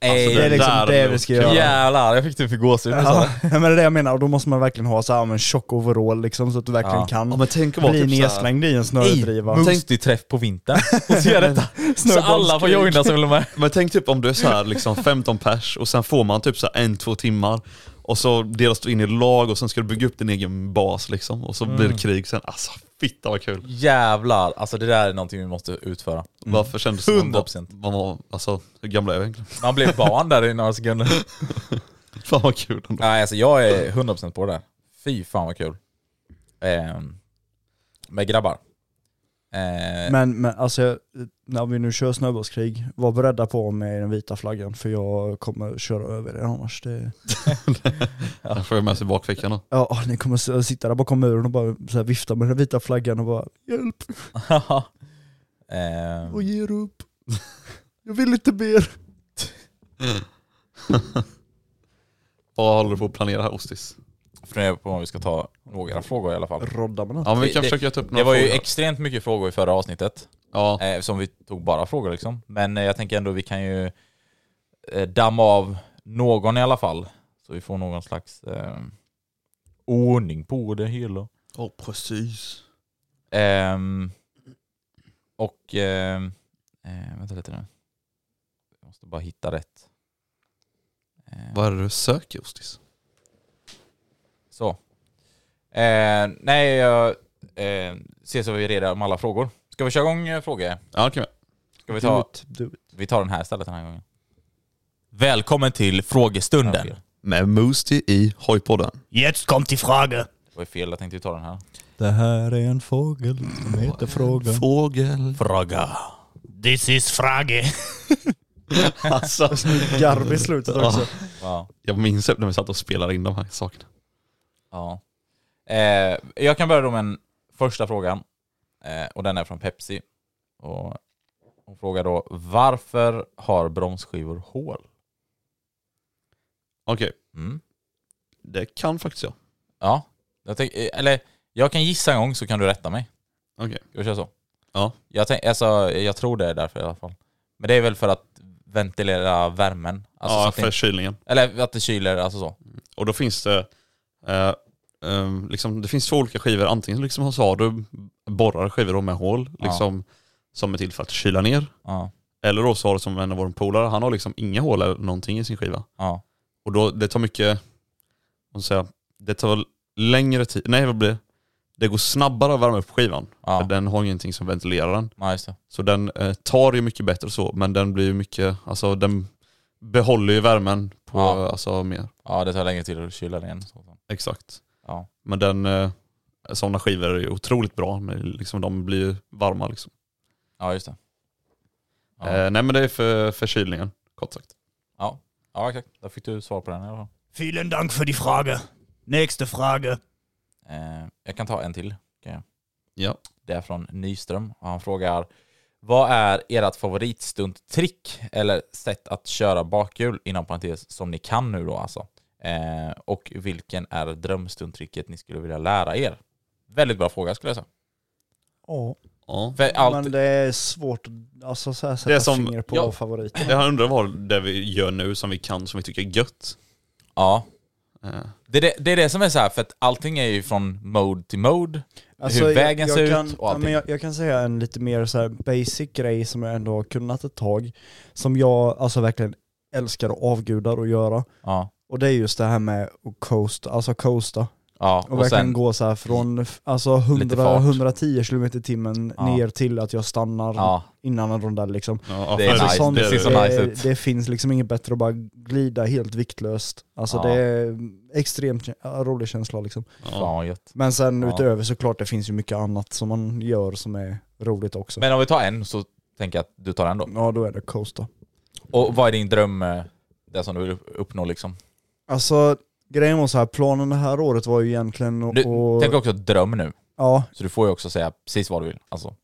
Ey, Alltså, Det är liksom där det hade vi varit ska kul. göra. Jävlar, jag fick typ gåshud när du sa Ja, *laughs* det. men det är det jag menar, och då måste man verkligen ha så här, men tjock overall liksom så att du verkligen Ja. kan Ja, men tänk att vara bli typ så här- nedslängd i en Ey, snödriva. Mustig-träff på *laughs* vintern. Och så gör detta. Så alla får Snöbollskrig. joina som vill vara med. Men tänk typ om du är så här *laughs* liksom 15 pers och sen får man typ så här en, två timmar och så delas du in i lag och sen ska du bygga upp din egen bas liksom och så blir det krig sen. Alltså fitta vad kul. Jävlar, alltså det där är någonting vi måste utföra. Varför kändes det som man 100%. var, man var, alltså hur gammal är jag egentligen? *laughs* Man blev barn där i några sekunder. Fan vad kul ändå. *laughs* Nej, alltså jag är 100% på det där. Fy fan vad kul. Ehm, med grabbar. Ehm, Men, men alltså, när vi nu kör snöbollskrig, var beredda på med den vita flaggan för jag kommer köra över er annars. Det... *laughs* Den får jag med sig i bakfickan då. *laughs* Ja, ah, ni kommer s- sitta där bakom muren och bara så här vifta med den vita flaggan och bara hjälp Ehm, och ge er upp. *laughs* Jag vill inte mer. Vad håller du på att planera här Ostis? funderar på om vi ska ta några frågor i alla fall. Roddar man Ja men vi kan Det- försöka ta upp några Det var ju frågor. extremt mycket frågor i förra avsnittet, ja. eh, som vi tog bara frågor liksom. Men eh, jag tänker ändå vi kan ju eh, damma av någon i alla fall, så vi får någon slags eh, ordning på det hela. oh, precis. Ehm, och... ehm, eh, vänta lite nu. Jag måste bara hitta rätt. Ehm, Vad är det du söker Ostis? Så. Eh, nej, jag eh, ser så vi är redo med alla frågor. Ska vi köra igång eh, frågor? Ja okej. Ska vi Do ta... it, do it. Vi tar den här istället den här gången. Välkommen till frågestunden. Med Moosty i hojpodden. Det var ju fel, jag tänkte ju ta den här. Det här är en fågel som heter frågan. Fågel. Fråga. *laughs* Alltså, Garv i slutet Ja. också. Wow. jag minns typ när vi satt och spelade in de här sakerna. Ja. Eh, jag kan börja då med en första frågan. Eh, och den är från Pepsi. Och hon frågar då, varför har bromsskivor hål? Okej, Mm. det kan faktiskt jag. Ja. Jag tänk, eh, eller jag kan gissa en gång så kan du rätta mig. Okej. Ska vi köra så? Ja. Jag, tänk, alltså, jag tror det är därför i alla fall. Men det är väl för att ventilera värmen. Alltså, så ja, att det för kylningen. inte- eller att det kyler, alltså så. Och då finns det, eh, ehm, liksom, det finns två olika skivor. Antingen liksom så har du borrade skivor då med hål, Ja. liksom, som är till för att kyla ner. Ja. Eller då så har du som en av våra polare, han har liksom inga hål eller någonting i sin skiva. Ja. Och då, det tar mycket, vad ska jag säga, det tar väl längre tid, nej vad blir det? Det går snabbare att värma upp skivan. Ja. För den har ju ingenting som ventilerar den. ja, just det. Så den eh, tar ju mycket bättre så, men den blir ju mycket, alltså den behåller ju värmen på, Ja. alltså mer. Ja, det tar längre tid att kyla den igen. Så. Exakt. Ja. Men den, eh, sådana skivor är ju otroligt bra, men liksom de blir ju varma liksom. ja, just det. Ja. Eh, nej men det är för, för kylningen, kort sagt. Ja, ja exakt. Där fick du svar på den i alla fall. Vielen Dank för din fråga. Nästa fråga. Eh, jag kan ta en till. kan jag. Ja. Det är från Nyström och han frågar Vad är ert favoritstunttrick eller sätt att köra bakhjul inom parentes som ni kan nu då alltså? Eh, och vilken är drömstunttricket ni skulle vilja lära er? Väldigt bra fråga skulle jag säga. Ja, ja. För allt, men det är svårt alltså, så här, sätta Det är som- finger på ja. vår favorit. Det jag undrar vad det vi gör nu som vi kan, som vi tycker är gött. ja, Eh, det, är det, det är det som är så här för att allting är ju från mode till mode. Alltså, hur vägen jag, ser jag ut kan, och ja, allting. men jag, jag kan säga en lite mer så här basic grej som jag ändå har kunnat ett tag, som jag alltså verkligen älskar och avgudar att göra. Ja, Och det är just det här med att coasta, alltså coasta. ja. Och, verkligen gå så här från f- alltså 100, fart. 110 km i timmen Ja. ner till att jag stannar ja, innan en rondell liksom. Ja, Det är för- nice, sånt, det är- ser så det, nice ut. det finns liksom inget bättre att bara glida helt viktlöst. Alltså Ja. det är extremt kä- rolig känsla liksom. fan vad gött. Men sen Ja. utöver såklart det finns ju mycket annat som man gör som är roligt också. Men om vi tar en så tänker jag att du tar den då. Ja då är det coaster. Och vad är din dröm, eh, det som du vill upp- uppnå liksom? Alltså grejen var så här, planen det här året var ju egentligen att... Du, och- Tänk också dröm nu, Ja, så du får ju också säga precis vad du vill. Alltså,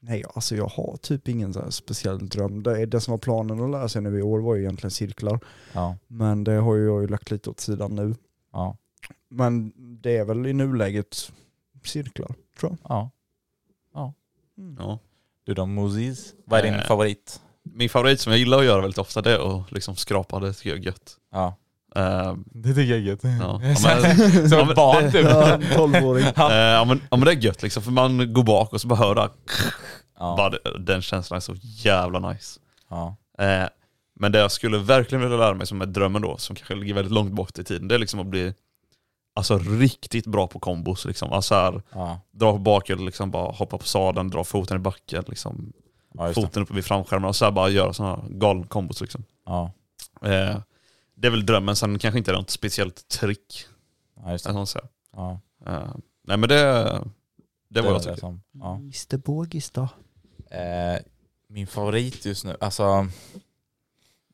Nej, alltså jag har typ ingen så här speciell dröm. Det, det som var planen att lära sig nu i år var ju egentligen cirklar, ja, men det har ju jag ju lagt lite åt sidan nu. ja, Men det är väl i nuläget cirklar, tror jag. Mm. ja. Ja. Du då Moses, vad är din Eh. favorit? Min favorit som jag gillar att göra väldigt ofta det är att liksom skrapa, det tycker jag är gött. Ja. Eh, Det tycker jag är *laughs* gött. ja. Ja, men, Som Ja, ett men barn det- typ. *laughs* Ja, 12-åring. eh, ja, men, ja men det är gött liksom, för man går bak och så bara hör det här. Ja, Bara det- Den känslan är så jävla nice. ja, Eh, men det jag skulle verkligen vilja lära mig som är drömmen då, som kanske ligger väldigt långt bort i tiden, det är liksom att bli alltså, riktigt bra på kombos. Liksom. Alltså här, ja, dra på bakhjulet, liksom, bara hoppa på sadeln, dra foten i backen, liksom, ja just det. foten uppe vid framskärmen och så här, bara göra sådana galna kombos. Liksom. Ja, Eh, det är väl drömmen, sen kanske inte är något speciellt trick. ja just eller det. vad man säger. Ja, Eh, nej men det, det var jag det tycker. som, *laughs* ja. Mr Bogis då? Eh, min favorit just nu, alltså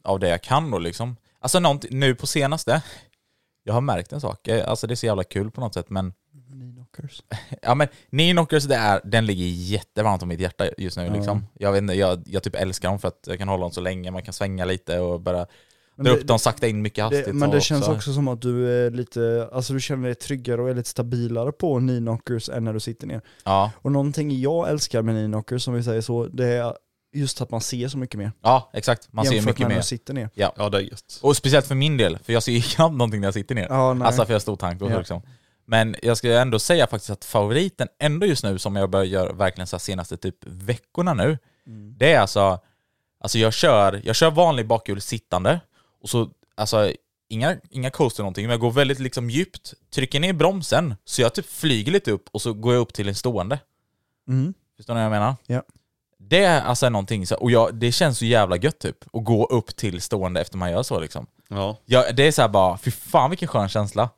av det jag kan då liksom. Alltså nånt- nu på senaste, jag har märkt en sak, Eh, alltså det är så jävla kul på något sätt men Minockers. Ja men Neo Knockers, det är, den ligger jättevarmt om mitt hjärta just nu liksom. Jag, vet inte, jag, jag typ älskar dem för att jag kan hålla dem så länge, man kan svänga lite och bara Men dra det- upp dem sakta in mycket hastigt. Det, men det och känns så- också som att du är lite, alltså du känner dig tryggare och är lite stabilare på knee-knockers än när du sitter ner. Ja, Och någonting jag älskar med knee-knockers, som vi säger så, det är just att man ser så mycket mer. ja exakt. Man ser ju jämfört mycket med när mer. du sitter ner. Ja det är gött. Och speciellt för min del, för jag ser ju *laughs* knappt någonting när jag sitter ner. Ja, nej. Alltså för jag har stor tanke och så Ja. liksom. Men jag skulle ändå säga faktiskt att favoriten ändå just nu som jag börjar göra verkligen så här senaste typ veckorna nu, Mm. det är alltså, alltså jag kör, jag kör vanlig bakhjul sittande och så, alltså inga, inga coaster någonting, men jag går väldigt liksom djupt, trycker ner bromsen så jag typ flyger lite upp och så går jag upp till en stående. Mm. Förstår ni vad jag menar? Ja. Det är alltså någonting, så, och jag, det känns så jävla gött typ, att gå upp till stående efter man gör så liksom. Ja. Ja, det är så här bara, fy fan vilken skön känsla.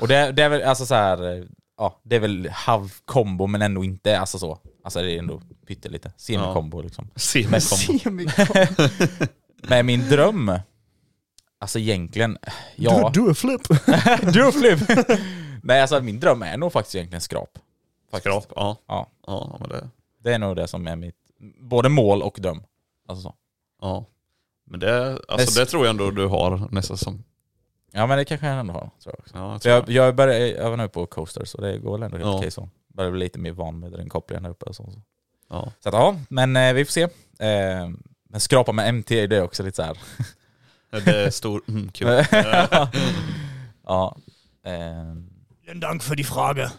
Och det, det är väl alltså så här, ja, det är väl halv kombo men ändå inte, alltså så. Alltså det är ändå pyttelite. Semikombo liksom. Semikombo. Men min dröm, alltså egentligen, ja. *laughs* Du, du är flip! *laughs* du flip! Nej alltså min dröm är nog faktiskt egentligen skrap. Faktiskt. Skrap, ja. Ja. Ja, men det... Det är nog det som är mitt, både mål och dröm. Alltså så. Ja. Men det, alltså, Men- det tror jag ändå du har nästa säsong. Ja men det kanske jag ändå har, tror jag också. Ja, jag Så tror jag, det. jag börjar öva nu på coaster så det går väl ändå helt Ja. okej så. Börjar bli lite mer van med den kopplingen där uppe och så. Så, Ja. så att, ja, men eh, vi får se. Eh, men skrapa med MT, det är också lite *laughs* så här. Det är stor... Mm, *laughs* kul. ja. Ehm, Dank för din fråga.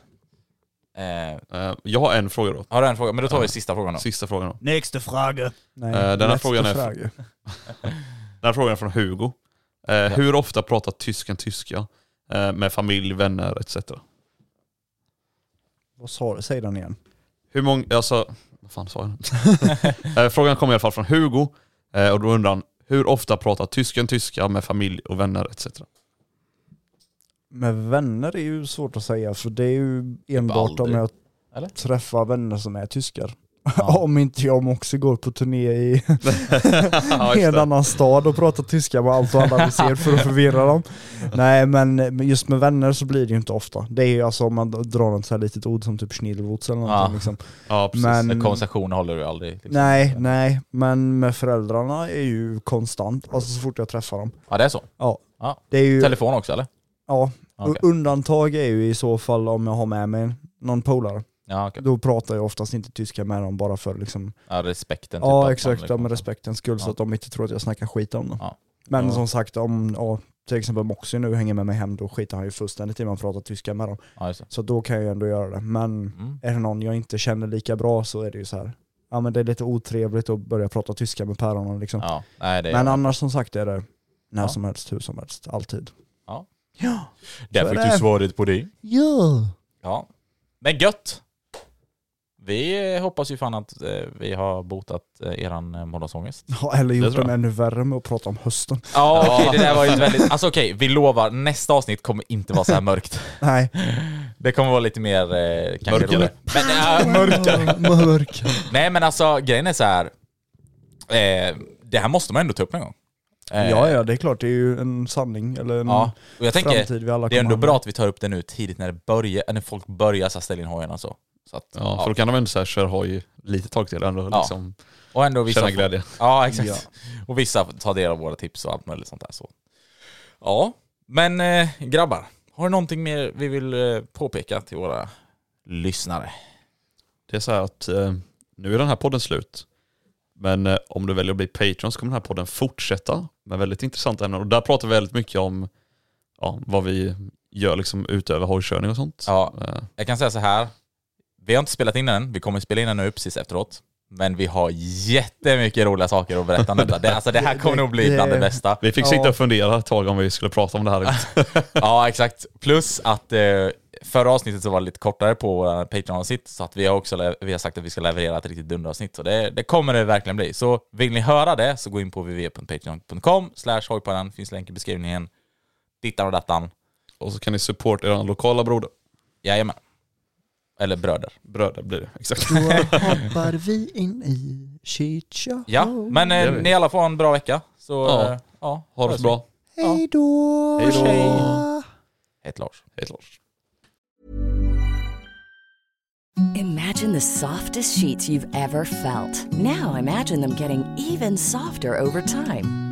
eh, Eh, jag har en fråga då. har du en fråga? Men då tar vi sista frågan då. Sista frågan då. Nästa fråga. Nej, Eh, den här nästa frågan är- fråga. Den här frågan är från Hugo. Eh, Hur ofta pratar tysken tyska? Eh, med familj, vänner etc. Vad sa du? Säg den igen. Hur många... Alltså... Vad fan sa jag? *laughs* eh, frågan kommer i alla fall från Hugo. Eh, och då undrar han, hur ofta pratar tysken tyska med familj och vänner etc? Med vänner är ju svårt att säga för det är ju enbart om aldrig. jag Eller? träffar vänner som är tyskar. Ja. *laughs* om inte jag också går på turné i *laughs* Ja, just en det. annan stad och pratar tyska med allt och alla vi ser för att förvirra dem. Nej men men just med vänner så blir det ju inte ofta. Det är ju alltså om man drar något så här litet ord som typ schnillwurz eller någonting Ja. liksom. Ja, precis. Men- Men Konversationer håller du aldrig. liksom. Nej, nej, men med föräldrarna är ju konstant, alltså så fort jag träffar dem. Ja det är så. Ja. Ja. Det är ju, Telefon också eller? ja. Okej. Undantag är ju i så fall om jag har med mig någon polare. Ja, okej. Då pratar jag oftast inte tyska med dem bara för liksom, ja respekten. att ja man exakt, ja, liksom- med respektens skull så Ja. att de inte tror att jag snackar skit om dem. Ja. Men Ja. som sagt om, ja, till exempel Moxie nu hänger med mig hem, då skiter han ju fullständigt i om man pratar tyska med dem. Ja, just det. Så då kan jag ju ändå göra det. Men Mm. är det någon jag inte känner lika bra så är det ju så här. ja men det är lite otrevligt att börja prata tyska med päronen liksom. Ja, nej, det är Men annars som sagt är det när Ja. som helst, hur som helst, alltid. Ja. Ja. Där så är fick det. du svaret på det. Ja. Ja. Men gött! Vi eh, hoppas ju fan att eh, vi har botat eh, eran eh, måndagsångest. eller Det gjort tror den jag. ännu värre med att prata om hösten. *laughs* Ja okej, det där var ju ett väldigt... Alltså okej, vi lovar, nästa avsnitt kommer inte vara så här mörkt. Nej. Det kommer vara lite mer... Eh, kanske Mörkare. roligare. Men, ja, mörkare. *laughs* Mörk. Nej men alltså grejen är så här. Eh, det här måste man ändå ta upp någon gång. Eh, Ja, ja, det är klart. Det är ju en sanning eller en ja. Och jag tänker, framtid vi alla det är ändå kommer hamna i. bra att vi tar upp det nu tidigt när, det börjar, när folk börjar så här, ställa in hojarna och så. så att, Ja, för då kan de ändå så här köra hoj lite tag till ändå. Ja. Liksom, Och ändå vissa... känna glädje. Ja, exakt. Ja. Och vissa tar del av våra tips och allt möjligt sånt där. Så. Ja, men eh, grabbar. Har du någonting mer vi vill eh, påpeka till våra lyssnare? Det är så här att eh, nu är den här podden slut. Men eh, om du väljer att bli Patreon så kommer den här podden fortsätta med väldigt intressanta ämnen. Och där pratar vi väldigt mycket om ja, vad vi gör liksom utöver hojkörning och sånt. Ja. Eh, Jag kan säga så här. Vi har inte spelat in den. Vi kommer spela in den nu precis efteråt. Men vi har jättemycket roliga saker att berätta om detta. Det, alltså det här kommer nog bli bland det bästa. vi fick Ja. sitta och fundera ett tag om vi skulle prata om det här. *laughs* Ja, exakt. Plus att eh, förra avsnittet så var det lite kortare på våra Patreon-avsnitt, så att vi har också le- vi har sagt att vi ska leverera ett riktigt dunderavsnitt, så det, det kommer det verkligen bli. Så vill ni höra det så gå in på www.patreon.com slash hojpodden, finns länk i beskrivningen. Dittan och dattan. och så kan ni supporta era lokala broder. Jajamän. Eller bröder. Bröder blir det, exakt. Då hoppar vi in i Chicha. Ja, men Oh. det eh, gör vi. ni alla får en bra vecka. Så Ja. ja, eh, ja *laughs* Ha det hörs så vi. bra. Hej då! Hej då. Hej till Lars. Hej Lars. Imagine the softest sheets you've ever felt. Now imagine them getting even softer over time.